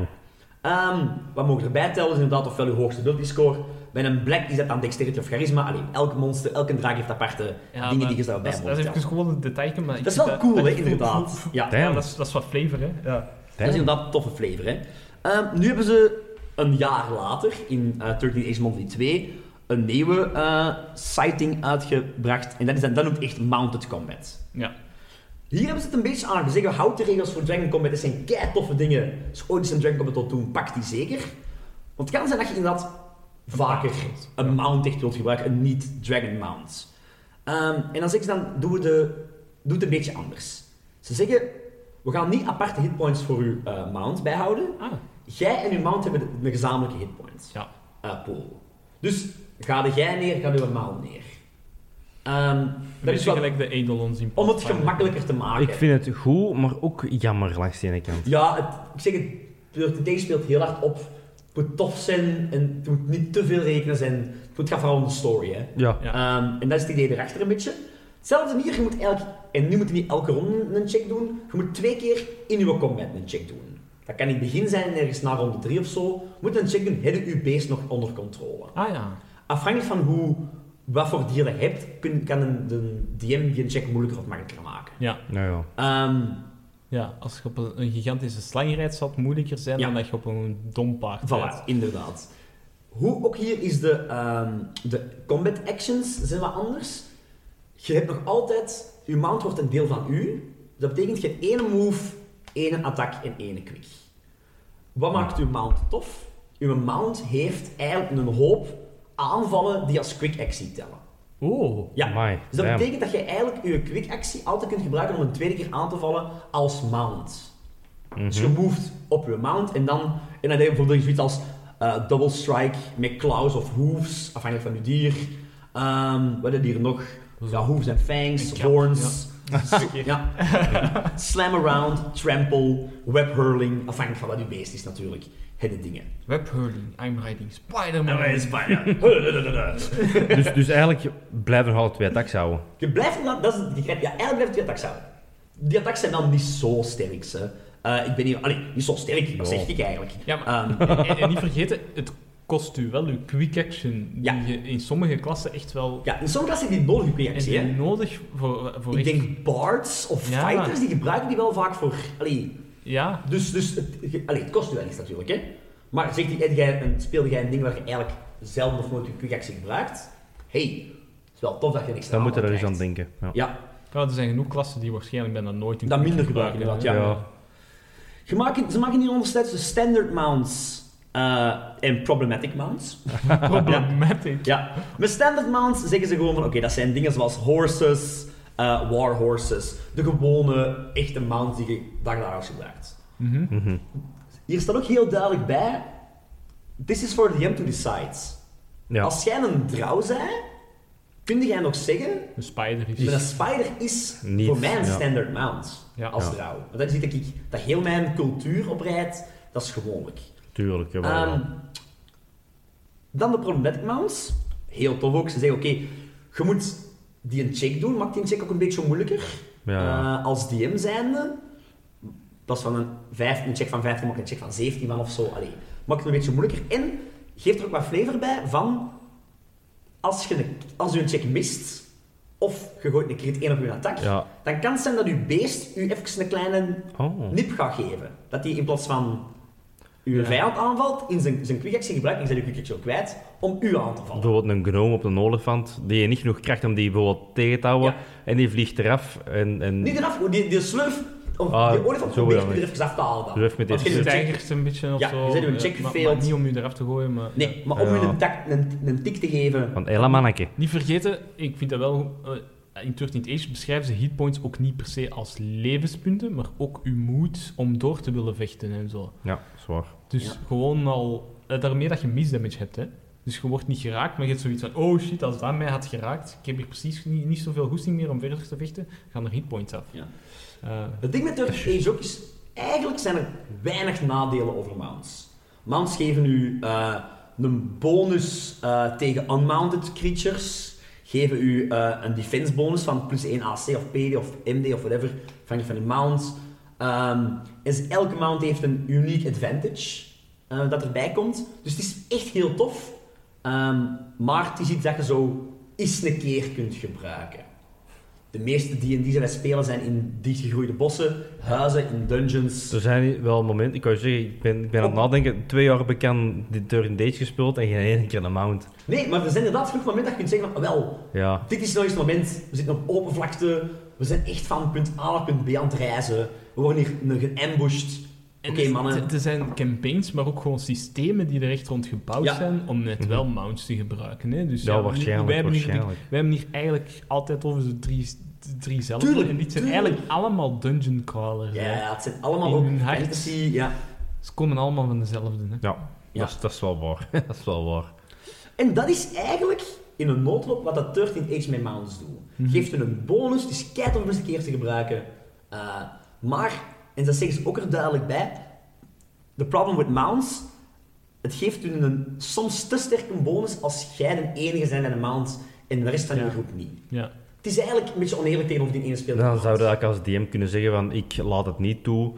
B: Ehm, wat mogen erbij tellen is inderdaad ofwel je hoogste ability score. Bij een black is dat dan dexterity of charisma. Alleen elk monster, elke draak heeft aparte
C: Ja,
B: dingen
C: maar
B: die je daarbij
C: dat,
B: moet
C: is- dat is
B: tellen.
C: even gewoon een detail, maar ik
B: Dat is
C: vind
B: wel cool, hè,
C: voelt-
B: inderdaad.
C: voelt-
B: Ja.
C: Ja,
A: Damn.
C: dat is, dat is wat flavor, hè. Ja.
B: Dat is inderdaad een toffe flavor, hè. Ehm, nu hebben ze een jaar later, in eh 13 Age Monthly 2, een nieuwe eh sighting uitgebracht. En dat, is dan, dat noemt echt Mounted Combat.
C: ja.
B: Hier hebben ze het een beetje aan gezegd. Houd de regels voor Dragon Combat. Dat zijn kei toffe dingen. Dus ooit eens een Dragon Combat tot doen, pak die zeker. Want het kan zijn dat je inderdaad vaker een mount echt wilt gebruiken. Een niet-Dragon mount. Ehm, en dan zeggen ze dan, doe, de, doe het een beetje anders. Ze zeggen, we gaan niet aparte hitpoints voor uw eh, mount bijhouden.
C: Ah,
B: Jij en uw mount hebben de- een gezamenlijke hitpoint
C: ja.
B: eh, pool. Dus ga de jij neer, ga de mount neer. Ehm,
C: Dat
B: dat
C: is
B: is wat,
C: gelijk de Eidolons in
B: om het
C: Pathfinder.
B: gemakkelijker te maken.
A: Ik vind het goed, maar ook jammer langs de ene kant.
B: Ja, het, ik zeg het, Dirty Day speelt heel hard op. Het moet tof zijn en het moet niet te veel rekenen zijn. Het moet gaan vooral om de story, hè.
A: Ja.
C: Ja.
B: Ehm, en dat is het idee erachter een beetje. Hetzelfde hier, je moet elk, en nu moet je niet elke ronde een check doen. Je moet twee keer in uw combat een check doen. Dat kan in het begin zijn, ergens na ronde 3 of zo. Moet een check doen, heb je uw beest nog onder controle.
C: Ah ja.
B: Afhankelijk van hoe, wat voor dier dat je hebt, kun, kan een, de DM die een check moeilijker of makkelijker maken.
C: Ja.
A: Nou ja.
B: Ehm,
C: ja, als je op een, een gigantische slang rijdt, zal het moeilijker zijn
B: Ja.
C: dan dat je op een dom paard
B: Voilà,
C: rijdt.
B: inderdaad. Hoe ook hier is de, ehm, de combat actions zijn wat anders. Je hebt nog altijd, je mount wordt een deel van u. Dat betekent je hebt één move, één attack en één quick. Wat maakt uw mount tof? Uw mount heeft eigenlijk een hoop aanvallen die als quick actie tellen.
C: Oh.
B: Ja.
A: Amai,
B: dus dat
A: damn.
B: betekent dat je eigenlijk je quick actie altijd kunt gebruiken om een tweede keer aan te vallen als mount. Dus je moved op je mount en dan, en dan heb je bijvoorbeeld zoiets als eh, double strike met claws of hooves, afhankelijk van je dier. Ehm, wat heb je hier nog? Ja, hooves en fangs,
C: Een krab,
B: horns.
C: Zeker.
B: Ja. Slam around, trample, web hurling, afhankelijk van wat je beest is natuurlijk. Het de dingen.
C: Webhurling, I'm riding Spider-Man.
B: En wij Nou, is bijna.
A: Dus, dus eigenlijk blijven we nog altijd twee attacks houden.
B: Je blijft inderdaad- dat is het gegeven. Ja, eigenlijk blijft die attacks houden. Die attacks zijn wel niet zo sterk, hè. Eh, ik ben hier, allee, niet zo sterk, dat
A: Ja.
B: zeg ik eigenlijk.
C: Ja, maar
B: Ehm,
C: en, en niet vergeten, het kost u wel uw quick action, die
B: Ja.
C: je in sommige klassen echt wel...
B: ja, in sommige klassen heb je die nodige quick
C: En
B: actie,
C: die
B: hè.
C: nodig voor, voor
B: Ik
C: echt-
B: denk bards of
C: Ja.
B: fighters, die gebruiken die wel vaak voor... Allee,
C: Ja,
B: dus, dus het, ge- allee, het kost u wel iets natuurlijk, hè. Maar zeg, die- heb jij een, speelde jij een ding waar je eigenlijk zelden of nooit je quick actie gebruikt? hey, het is wel tof dat je niks
A: Dan moeten we er eens aan denken. Ja.
B: Ja,
C: ja, er zijn genoeg klassen die waarschijnlijk bijna nooit een
B: Dat
C: quick
B: minder
C: gebruiken,
B: gebruiken,
C: hè.
B: ja. Je maakt, ze maken hier onderscheid tussen standard mounts eh, en problematic mounts.
C: Problematic.
B: Ja, met standard mounts zeggen ze gewoon van oké, dat zijn dingen zoals horses, eh, war horses, de gewone echte mount die je dagelijks gebruikt.
C: Mhm.
A: Mhm.
B: Hier staat ook heel duidelijk bij, this is for the DM to decide.
A: Ja.
B: Als jij een trouw zei, kun jij nog zeggen,
C: Een spider is...
B: maar een spider is
A: Niet,
B: voor mij een
A: ja.
B: standard mount
C: Ja.
B: als
A: Ja.
B: trouw. Want dat is iets dat ik, dat heel mijn cultuur oprijdt, dat is gewoonlijk.
A: Tuurlijk, jawel.
B: Ehm,
A: jawel.
B: Dan de problematic mounts. Heel tof ook. Ze zeggen, oké, je moet die een check doen. Maakt die een check ook een beetje moeilijker.
A: Ja, ja.
B: Eh, als DM zijnde, in plaats van een, vijf, een check van 15, maak een check van 17 van of zo. Allee, maakt het een beetje moeilijker. En geeft er ook wat flavor bij van, als je een, als je een check mist, of je gooit een crit 1 op je attack,
A: Ja.
B: dan kan het zijn dat je beest u even een kleine
A: Oh.
B: nip gaat geven. Dat hij in plaats van uw
C: Ja.
B: vijand aanvalt, in zijn, zijn quick actie gebruikt, en zijn uw quick al kwijt, om u aan te vallen.
A: Bijvoorbeeld een gnome op een olifant, die je niet genoeg krijgt om die bijvoorbeeld tegen te houden.
B: Ja.
A: En die vliegt eraf en... en...
B: Niet eraf, die, die slurf, of
A: Ah,
B: die olifant
A: zo
B: probeert
A: ja,
B: u er even af te halen. dan.
A: Durf met
B: Want
A: deze
B: je
C: Je
B: hebt een check-
C: tijgert een beetje of
B: Ja,
C: zo. Eh,
B: je zet hem een check
C: maar-
B: gefaild.
C: maar niet om je eraf te gooien, maar...
B: Nee, maar om
A: Ja.
B: u een, tak, een, een tik te geven.
A: Van Ella manneke.
C: Niet vergeten, ik vind dat wel... eh, in 13 Age beschrijven ze hitpoints ook niet per se als levenspunten, maar ook uw moed om door te willen vechten en zo.
A: Ja, zwaar.
C: Dus
B: Ja.
C: gewoon al... eh, daarmee dat je misdamage hebt, hè. Dus je wordt niet geraakt, maar je hebt zoiets van... Oh shit, als dat mij had geraakt, ik heb hier precies niet, niet zoveel goesting meer om verder te vechten, gaan er hitpoints af.
B: Ja.
C: Eh,
B: Het ding met Turkish Age ook is, eigenlijk zijn er weinig nadelen over mounts. Mounts geven u eh, een bonus eh, tegen unmounted creatures, geven u eh, een defense bonus van plus 1 AC of PD of MD of whatever, afhankelijk van uw mount. Ehm, en ze- elke mount heeft een unique advantage eh, dat erbij komt. Dus het is echt heel tof. Ehm, maar het is iets dat je zo eens een keer kunt gebruiken. De meeste D&D's die wij spelen zijn in dichtgegroeide bossen, huizen, in dungeons.
A: Er zijn wel momenten, ik kan je zeggen, ik ben, ik ben aan het nadenken, twee jaar heb ik aan die Turn Dates gespeeld en geen ene keer een mount.
B: Nee, maar er zijn inderdaad genoeg momenten dat je kunt zeggen van, wel,
A: Ja.
B: dit is nou eens het moment, we zitten op open vlakte, we zijn echt van punt A naar punt B aan het reizen, we worden hier eh, geambushed. Oké
C: en dus
B: mannen,
C: t- Er zijn campaigns, maar ook gewoon systemen die er echt rond gebouwd
B: Ja.
C: zijn om net
A: Mhm.
C: wel mounts te gebruiken. Hè? Dus
A: Ja, waarschijnlijk,
C: Wij hebben, hier,
A: waarschijnlijk.
C: wij hebben hier eigenlijk altijd over de drie, de drie zelf.
B: Tuurlijk,
C: en dit zijn
B: tuurlijk.
C: eigenlijk allemaal dungeon crawlers.
B: ja,
C: hè.
B: het zijn allemaal
C: In
B: ook
C: hun hart.
B: fantasy, ja.
C: Ze komen allemaal van dezelfde. Hè?
A: Ja,
B: Ja.
A: Dat, is, dat is wel waar. dat is wel waar.
B: En dat is eigenlijk in een noodlop wat dat 13 Age met Mounts doet.
C: Mhm.
B: Geeft hun een bonus, het is keihard om eens een keer te gebruiken. Eh, maar, en dat zeggen ze ook er duidelijk bij, the problem with mounts, het geeft hun een soms te sterke bonus als jij de enige zijn in een mount en de rest van
C: Ja.
B: je groep niet.
C: Ja.
B: Het is eigenlijk een beetje oneerlijk tegenover die ene speler.
A: Dan zouden we eigenlijk als DM kunnen zeggen van, ik laat het niet toe,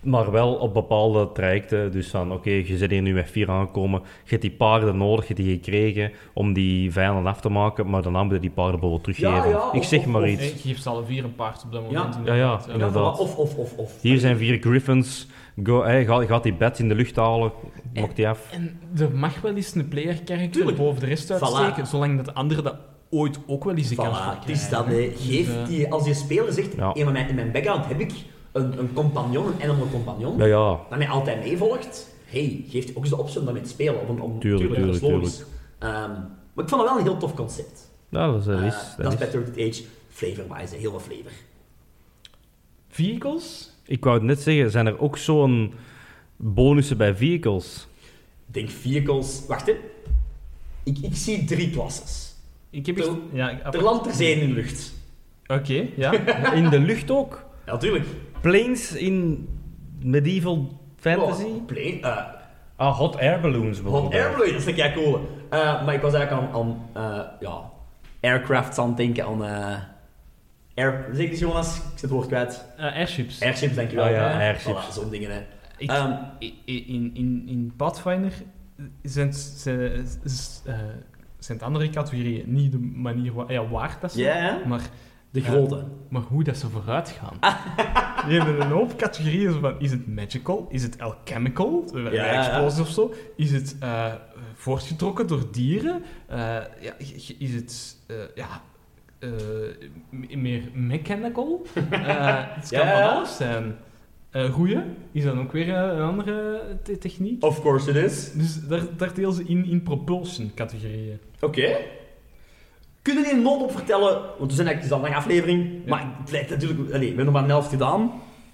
A: maar wel op bepaalde trajecten. Dus van, oké, je zit hier nu met vier aangekomen, je hebt die paarden nodig, je hebt die gekregen om die vijanden af te maken, maar daarna moeten die paarden bijvoorbeeld teruggeven.
B: Ja, ja,
A: ik
B: of-
A: zeg
B: of-
A: maar
B: of-
A: iets.
C: Eh, Je geeft ze alle vier een paard op dat moment.
B: Ja.
C: inderdaad.
A: Ja,
C: Eh,
A: ja. inderdaad.
B: Of, of, of, of.
A: Hier zijn vier griffins. Go, hey, ga, gaat die bed in de lucht halen. Maakt die af.
C: En er mag wel eens een player character
B: Tuurlijk.
C: boven de rest
B: Voilà.
C: uitsteken, zolang dat de anderen dat ooit ook wel eens de kans
B: Voilà,
C: krijgen.
B: het is dat. hè.
C: Dus, eh,
B: Geef die, als je speler zegt,
A: Ja.
B: in mijn, in mijn background heb ik een, een compagnon, een animal compagnon.
A: Ja, ja.
B: dat mij altijd meevolgt, hey, geeft ook eens de optie om daarmee te spelen. Om, om,
A: Tuurlijk,
B: dat is
A: tuurlijk,
B: logisch. Ehm, maar ik vond het wel een heel tof concept.
A: Ja, dat is... Dat
B: Eh,
A: is,
B: dat is
A: dat
B: bij
A: is.
B: Turtle Age flavor-wise, heel veel flavor.
C: Vehicles?
A: Ik wou het net zeggen, zijn er ook zo'n bonussen bij vehicles?
B: Ik denk vehicles... Wacht, hè. Ik, ik zie drie klasses.
C: Ik heb
B: Ter-
C: echt- ja, af-
B: Ter land, ter zee en in de lucht.
C: Oké, ja. Eh,
A: In de lucht ook?
B: Ja, natuurlijk.
A: Planes in medieval fantasy?
B: plane, eh,
A: Oh. Ah, hot air balloons
B: hot
A: bijvoorbeeld.
B: air balloon, dat is een kei cool. Eh, maar ik was eigenlijk aan, aan eh, ja, aircrafts aan het denken, aan... eh air, zeg eens, Jonas. Ik zit het woord kwijt.
C: Eh, airships.
B: Airships, dankjewel.
A: Ah, ja,
B: Eh,
A: airships.
B: Voilà, zo'n dingen, hè.
C: Ik-
B: Ehm,
C: i- i- in, in, in Pathfinder zijn, zijn, zijn, eh, zijn het andere categorieën niet de manier wa ja, waard dat ze,
B: Ja, hè?
C: maar,
B: de
C: Ja.
B: grote.
C: maar hoe dat ze vooruit gaan.
B: Ah.
C: Die hebben een hoop categorieën zo van, is het magical, is het alchemical, eh,
B: ja, ja.
C: explosies of zo, is het eh, voortgetrokken door dieren, Eh, ja, g- g- is het, eh, ja, eh, m- meer mechanical, Eh, het kan
B: Ja, ja.
C: van alles zijn. Eh roeien is dan ook weer eh, een andere te- techniek.
B: Of course it is.
C: Dus daar, daar deel ze in, in propulsion-categorieën.
B: Oké. Kunnen jullie een nood op vertellen? Want we zijn eigenlijk het is al een lange aflevering. Maar het lijkt natuurlijk. Allee, we hebben nog maar een helft gedaan.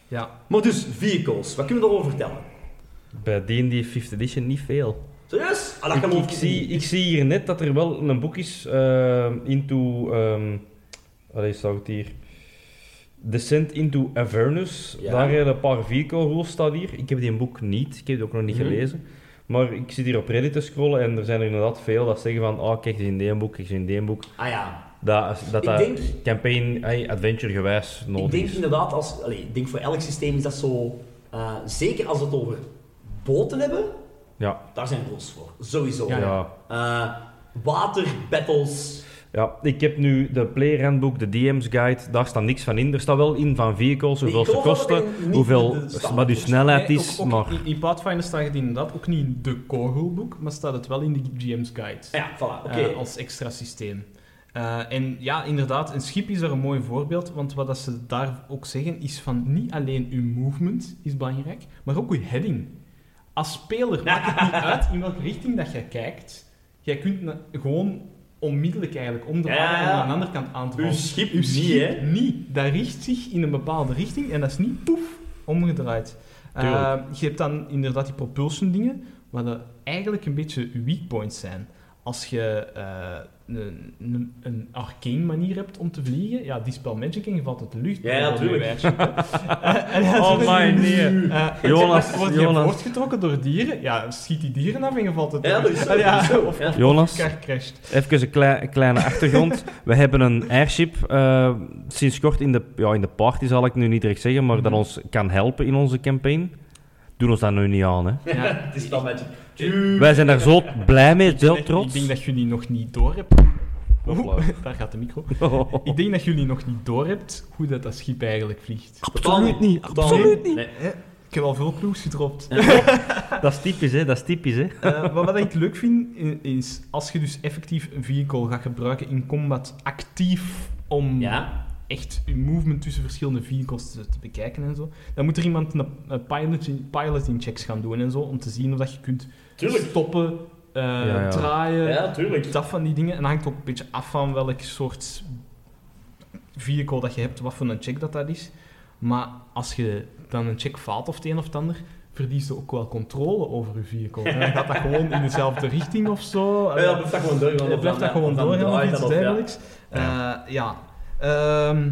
C: Ja.
B: Maar dus, vehicles. Wat kunnen we daarover vertellen?
A: Bij D&D 5th edition niet veel.
B: Serieus? Ah, dat
A: Ik,
B: kan
A: ik
B: ook
A: zie,
B: niet.
A: ik zie hier net dat er wel een boek is, eh, Into... ehm allee, staat het hier? Descent into Avernus.
B: Ja.
A: Daar hebben een paar vehicle rules staat hier. Ik heb die boek niet, ik heb die ook nog niet
B: Mhm.
A: gelezen. Maar ik zit hier op Reddit te scrollen en er zijn er inderdaad veel dat zeggen van oh, kijk, dit is in die boek, kijk, dit is in die boek.
B: Ah ja.
A: Dat dat,
B: Ik
A: dat
B: denk-
A: campaign hey, adventure-gewijs
B: ik
A: nodig
B: denk
A: is.
B: inderdaad, als, allee, ik denk voor elk systeem is dat zo... eh, zeker als we het over boten hebben,
A: Ja,
B: daar zijn rules voor. Sowieso.
A: ja.
C: Ja,
A: ja.
B: Eh, water, battles...
A: ik heb nu de Player Handbook, de DM's Guide, daar staat niks van in. Er staat wel in van vehicles, hoeveel
B: Ik
A: ze
B: geloof dat het
A: kosten,
B: in- niet
A: hoeveel,
B: de standaard
A: wat je
B: is.
A: snelheid
C: Nee,
A: is,
C: ook- ook
A: maar...
C: In, in Pathfinder staat het inderdaad ook niet in de core rulebook, maar staat het wel in de GM's Guide.
B: Ah Ja, voilà, oké.
C: eh, als extra systeem. Eh, en ja, inderdaad, een schip is daar een mooi voorbeeld, want wat dat ze daar ook zeggen is van niet alleen uw movement is belangrijk, maar ook uw heading. Als speler maakt het niet uit in welke richting dat jij kijkt. Jij kunt na- gewoon onmiddellijk eigenlijk om de
B: Ja,
C: ja,
B: ja, ja. Dus
C: aan de andere kant aan te
B: Uw
C: vallen.
B: schip
C: Uw
B: niet,
C: schip
B: hè?
C: niet. Dat richt zich in een bepaalde richting en dat is niet poef omgedraaid. Eh,
A: Tuurlijk.
C: je hebt dan inderdaad die propulsion dingen, wat dat eigenlijk een beetje weak points zijn. Als je eh, een, een, een arcane manier hebt om te vliegen, ja, dispel magic en je valt uit de lucht.
B: Ja, ja, tuurlijk.
C: Eh,
A: Oh my, nee. Jonas,
C: Jonas, word je
A: Jonas.
C: voortgetrokken door dieren? Ja, schiet die dieren af en je valt uit de
B: Ja, dat
C: lucht.
B: is zo.
C: Ah,
B: dat is
C: ja.
B: zo.
C: Of
B: Ja.
A: Jonas,
C: elkaar crasht.
A: Even een klei- een kleine achtergrond. We hebben een airship eh, sinds kort in de, ja, in de party, zal ik nu niet direct zeggen, maar dat
C: Mhm.
A: ons kan helpen in onze campaign. Doen ons dat nu niet aan, hè.
C: Ja.
B: Het is wel met je.
A: Wij zijn daar zo blij mee, zo
C: Ik
A: trots.
C: denk dat jullie nog niet door hebben.
A: Hopla.
C: Daar gaat de micro. Ik denk dat jullie nog niet door hebt hoe dat, dat schip eigenlijk vliegt.
A: Absoluut niet, absoluut niet.
B: Nee.
C: Ik heb al veel clues gedropt.
A: Dat is typisch, hè. Dat is typisch, hè.
C: Eh, maar wat ik leuk vind, i- is als je dus effectief een vehicle gaat gebruiken in combat actief om
B: Ja,
C: echt je movement tussen verschillende vehicles te, te bekijken en zo, dan moet er iemand een, een piloting, piloting checks gaan doen en zo, om te zien of dat je kunt
B: tuurlijk.
C: stoppen, eh,
A: ja.
C: draaien,
B: Ja, tuurlijk.
C: dat van die dingen. En dat hangt ook een beetje af van welk soort vehicle dat je hebt, wat voor een check dat dat is. Maar als je dan een check faalt of het een of het ander, verlies je ook wel controle over je vehicle. En dan gaat dat gewoon in dezelfde richting of zo.
B: Ja, dat blijft dat gewoon doorgaan.
C: Je
B: Of
C: blijft
B: dan-
C: dat gewoon
B: dan
C: doorgaan of
B: draait
C: iets
B: dat op, ja.
C: dergelijks. Eh, Ja. Ehm,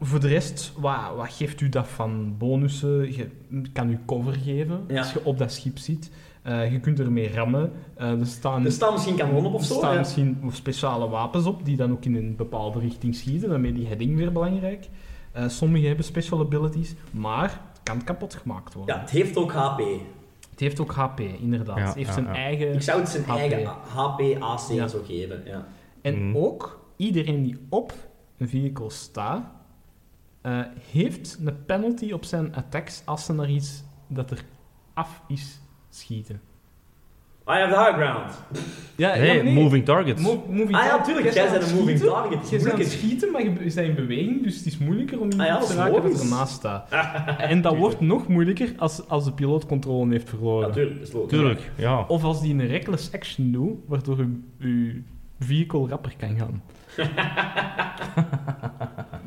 C: voor de rest, wat, wat geeft u dat van bonussen? Je kan u cover geven
B: Ja.
C: als je op dat schip zit. Eh, je kunt ermee rammen. Eh, er staan
B: Er staan misschien kanonnen op of zo.
C: er staan
B: ja.
C: misschien speciale wapens op die dan ook in een bepaalde richting schieten. Daarmee die heading weer belangrijk. Eh sommigen hebben special abilities, maar het kan kapot gemaakt worden.
B: Ja, het heeft ook HP.
C: Het heeft ook HP, inderdaad.
A: Ja,
C: het heeft
A: ja,
C: zijn
A: ja.
C: eigen...
B: Ik zou het zijn
C: HP.
B: eigen HP, AC
C: Ja.
B: zo geven. Ja.
C: En
A: Mhm.
C: ook, iedereen die op een vehicle staat, eh, heeft een penalty op zijn attacks als ze naar iets dat er af is schieten.
B: I have the high ground.
C: Ja,
A: Hey,
C: ja, nee.
A: moving targets.
C: Mo- moving
B: Ah ja,
C: target.
B: tuurlijk.
C: Jij
B: Jij
C: staat
B: bent
C: aan
B: een
C: het
B: moving
C: schieten.
B: target.
C: Je bent aan het
B: Moeilijk.
C: schieten, maar je bent in beweging, dus het is moeilijker om
B: Ah
C: iemand
B: ja,
C: te
B: dat is
C: raken dat
B: logisch.
C: ernaast staat. En dat wordt nog moeilijker als, als de piloot controle heeft verloren.
B: Natuurlijk, dat is logisch.
A: Tuurlijk, ja.
C: of als die een reckless action doet, waardoor je, je vehicle rapper kan gaan.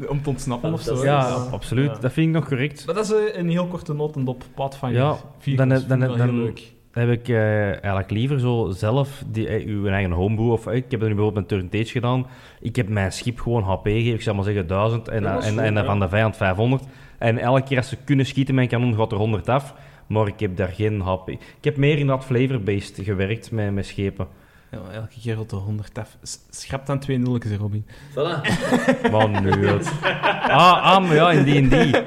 C: om te ontsnappen of zo.
A: Ja,
C: Dus,
A: absoluut.
C: ja.
A: Dat vind ik nog correct.
C: Maar dat is eh, een heel korte notendop. Pathfinder.
A: Ja,
C: Vehicles
A: dan-
C: vind ik
A: dan-
C: wel
A: dan-
C: heel leuk.
A: heb ik eh, eigenlijk liever zo zelf die, eh, uw eigen homebrew. Of, eh, ik heb er nu bijvoorbeeld met Turn Tage gedaan. Ik heb mijn schip gewoon HP gegeven. Ik zal maar zeggen 1000 en,
B: Ja, dat
A: eh,
B: is
A: en,
B: goed,
A: en
B: ja.
A: van de vijand 500. En elke keer als ze kunnen schieten, mijn kanon gaat er 100 af. Maar ik heb daar geen HP. Ik heb meer in dat flavor-based gewerkt met, met schepen.
C: Ja, elke keer op de 100 af. S- Schrap dan 2 0 Robin.
B: Voilà.
A: Maar nu het. Ah, ah, maar ja, in die en die.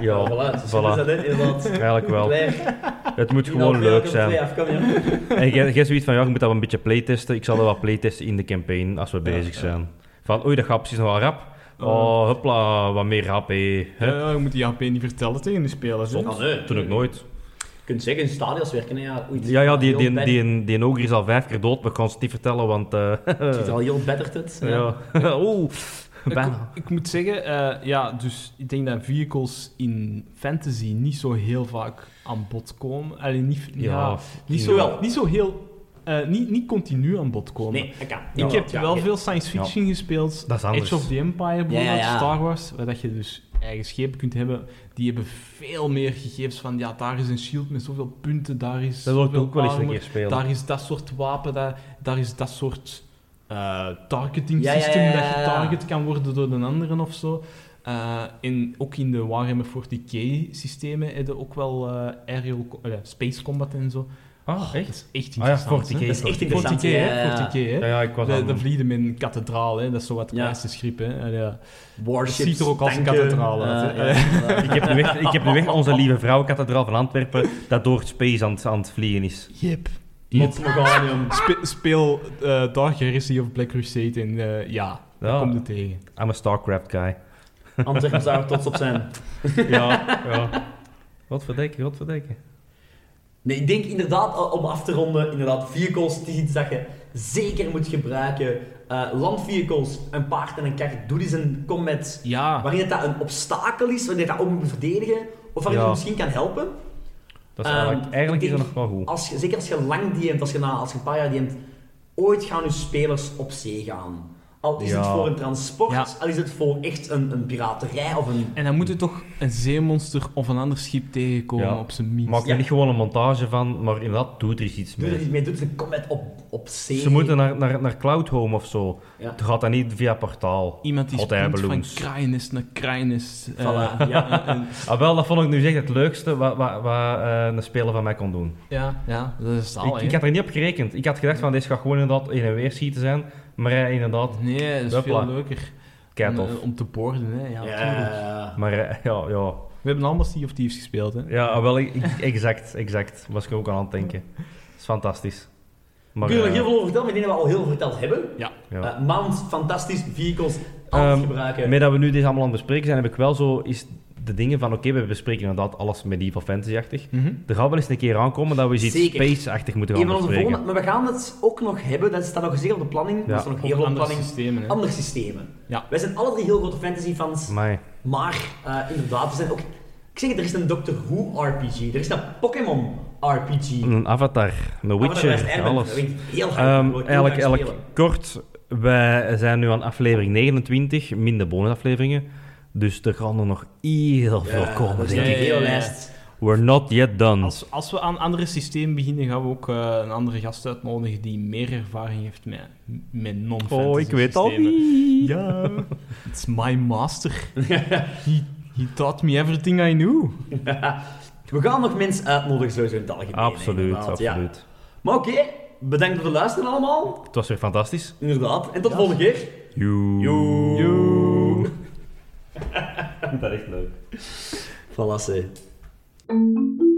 A: Ja,
B: voilà. Zo is
A: voilà.
B: dat hè, inderdaad.
A: Eigenlijk wel.
B: Klaar.
A: Het moet gewoon
B: Inderdaad,
A: leuk
B: welke
A: zijn.
B: twee af, kom, ja.
A: En jij jij zoiets van, ja, ik moet dat wel een beetje playtesten. Ik zal dat wat playtesten in de campaign als we
C: Ja,
A: bezig
C: ja.
A: zijn. Van, oei, dat gaat precies nog wel rap. Oh, hupla, wat meer rap, hé.
C: Ja, ja, Eh, je moet die HP niet vertellen tegen de spelers. hè. eh,
B: Ah, nee.
A: Toen ook nooit.
B: Je kunt zeggen, in stadions werken, hè, ja. Oei, het
A: Ja, ja, die,
B: ziet er
A: die,
B: heel
A: die,
B: bad-
A: die, die ogre is al vijf keer dood, maar ik kan ze het niet vertellen, want... eh
B: Het ziet er al heel better uit.
A: ja. Oeh,
C: Ik,
A: bijna.
C: ik moet zeggen, eh, ja, dus ik denk dat vehicles in fantasy niet zo heel vaak aan bod komen. Alleen niet, ja,
A: Ja,
C: niet,
A: ja.
C: zo, niet zo heel, eh, niet, niet continu aan bod komen.
B: Nee, dat kan.
C: Ik heb wel
B: ja.
C: veel science fiction gespeeld.
A: Dat is anders.
C: Age of the Empire, bijvoorbeeld,
B: Ja, ja, ja.
C: Star Wars, waar dat je dus eigen schepen kunt hebben. Die hebben veel meer gegevens van, ja, daar is een shield met zoveel punten, daar is
A: Dat wil ik
C: zoveel
A: ook wel eens een
C: armor,
A: keer spelen.
C: daar is dat soort wapen, daar, daar is dat soort eh, targeting
B: Ja, ja, ja,
C: systeem
B: ja,
C: dat
B: ja.
C: getarget kan worden door de anderen of zo. Eh, en ook in de Warhammer 40k systemen hebben ook wel eh, aerial co- eh, space combat en zo.
A: Ah,
C: Dat
A: echt?
C: is echt
A: Ah ja,
C: interessant.
A: 40K.
C: hè.
A: Dat is
B: echt
C: Voor
B: Oh, interessant.
C: Tiquet,
B: Ja, ja,
C: hè?
B: ja.
C: Voor Tiquet,
A: Ja,
C: hè?
A: ja, ik was
C: Dat
A: aan-
C: dat vliegen in een kathedraal, hè? Dat is zo wat
B: Ja.
C: prijs te schrippen. hè. En ja.
B: Warships,
C: Het ziet er ook als een
B: tanken,
C: kathedraal uit,
B: eh,
C: hè.
B: ja,
A: Ik heb, nu echt, ik heb nu echt onze lieve vrouwenkathedraal van Antwerpen dat door het space aan het, aan het vliegen is.
C: Yep.
B: Lot Morganium.
C: Spe- speel eh, Dark Heresy of Black Crusade en eh, ja,
A: Ja.
C: daar komt het tegen.
A: I'm a StarCraft guy.
B: Antwerpen zou er trots op zijn.
A: Ja, ja. Wat verdekken, wat verdekken.
B: Nee, ik denk inderdaad, eh, om af te ronden, inderdaad, vehicles, het is iets dat je zeker moet gebruiken. Eh landvehicles, een paard en een kar, doe eens een combat.
C: Ja,
B: Waarin dat een obstakel is, waarin je dat ook moet verdedigen. Of waarin je
A: Ja.
B: misschien kan helpen.
A: Dat is
B: Ehm,
A: eigenlijk, eigenlijk is dat
B: ik
A: nog wel goed.
B: Als je, zeker als je lang DM't, als je, na, als je een paar jaar DM't, ooit gaan je spelers op zee gaan. Al is het
A: Ja.
B: voor een transport,
C: Ja.
B: al is het voor echt een, een piraterij of een...
C: en dan moet je toch een zeemonster of een ander schip tegenkomen
A: Ja.
C: op zijn minst.
A: Maak er
B: Ja.
A: niet gewoon een montage van, maar inderdaad, doe er eens iets
B: Doe er iets
A: mee.
B: mee, doe een combat op, op zee.
A: Ze moeten naar, naar, naar Cloud Home of zo.
B: Ja.
A: Het gaat dan niet via portaal.
C: Iemand die
A: Hot
C: springt
A: air
C: van
A: balloons.
C: kraaiennest naar kraaiennest. eh,
B: Voilà, ja.
C: en- en-
A: Ah, wel, dat vond ik nu echt het leukste wat, wat, wat eh, een speler van mij kon doen.
C: ja, ja, dat is al.
A: Ik, ik had er niet op gerekend. Ik had gedacht van, dit gaat gewoon inderdaad in en weer schieten zijn. Maar hij inderdaad,
C: Nee, dat is
A: Hopla.
C: veel leuker.
A: kei
C: Om, eh,
A: tof.
C: om te borden, hè. Ja,
B: Ja,
C: tuurlijk.
A: Maar eh, ja, ja.
C: We hebben allemaal Sea of Thieves gespeeld, hè.
A: Ja, ah, wel, ik- ik- exact, exact. Was ik ook aan het denken. Dat is fantastisch. Maar,
B: Kunnen we
A: eh,
B: nog heel veel over vertellen, maar ik denk dat we al heel veel verteld hebben.
A: ja.
B: Eh, mount, fantastisch, vehicles, alles
A: Ehm,
B: gebruiken.
A: Met dat we nu dit allemaal aan het bespreken zijn, heb ik wel zo is de dingen van, oké, we bespreken inderdaad alles medieval fantasy-achtig.
C: Mhm.
A: Er gaat wel eens een keer aankomen dat we iets
B: Zeker.
A: space-achtig moeten
B: Een
A: gaan
B: van onze
A: bespreken.
B: volgende, maar we gaan het ook nog hebben, dat staat nog zeker op de planning,
A: Ja.
B: dat staat nog
C: Of
B: heel veel op de
C: andere
B: planning,
C: systemen, hè.
B: andere systemen.
C: Ja.
B: Wij zijn alle drie heel grote fantasy fans,
A: Amai.
B: maar eh, inderdaad, we zijn ook... Ik zeg het, er is een Doctor Who RPG, er is een Pokémon RPG.
A: Een avatar, een
B: Ah, maar Ah, dat
A: witcher,
B: blijft Airman,
A: alles.
B: dat vind ik heel hard,
A: Ehm,
B: ik wil het heel
A: eigenlijk,
B: graag
A: eigenlijk
B: spelen.
A: kort, wij zijn nu aan aflevering 29, minder bonusafleveringen. Dus er gaan er nog heel veel
B: Ja,
A: komen,
B: dat is
A: denk
B: een
A: ik.
C: ik.
B: hele
C: Ja, ja, ja.
B: lijst.
A: We're not yet done.
C: Als, als we aan andere systemen beginnen, gaan we ook eh, een andere gast uitnodigen die meer ervaring heeft met, met non-fantasy
A: oh, ik weet al
C: systemen.
A: niet.
C: Ja, it's my master. he, he taught me everything I knew.
B: We gaan nog mensen uitnodigen, sowieso in het algemeen.
A: Absoluut,
B: inderdaad, ja.
A: absoluut.
B: Maar oké, bedankt voor het luisteren allemaal.
A: Het was weer fantastisch.
B: Inderdaad, en tot de volgende keer.
A: Joe.
B: Joe. Joe.
A: Dat is echt leuk.
B: Voilà, zeg.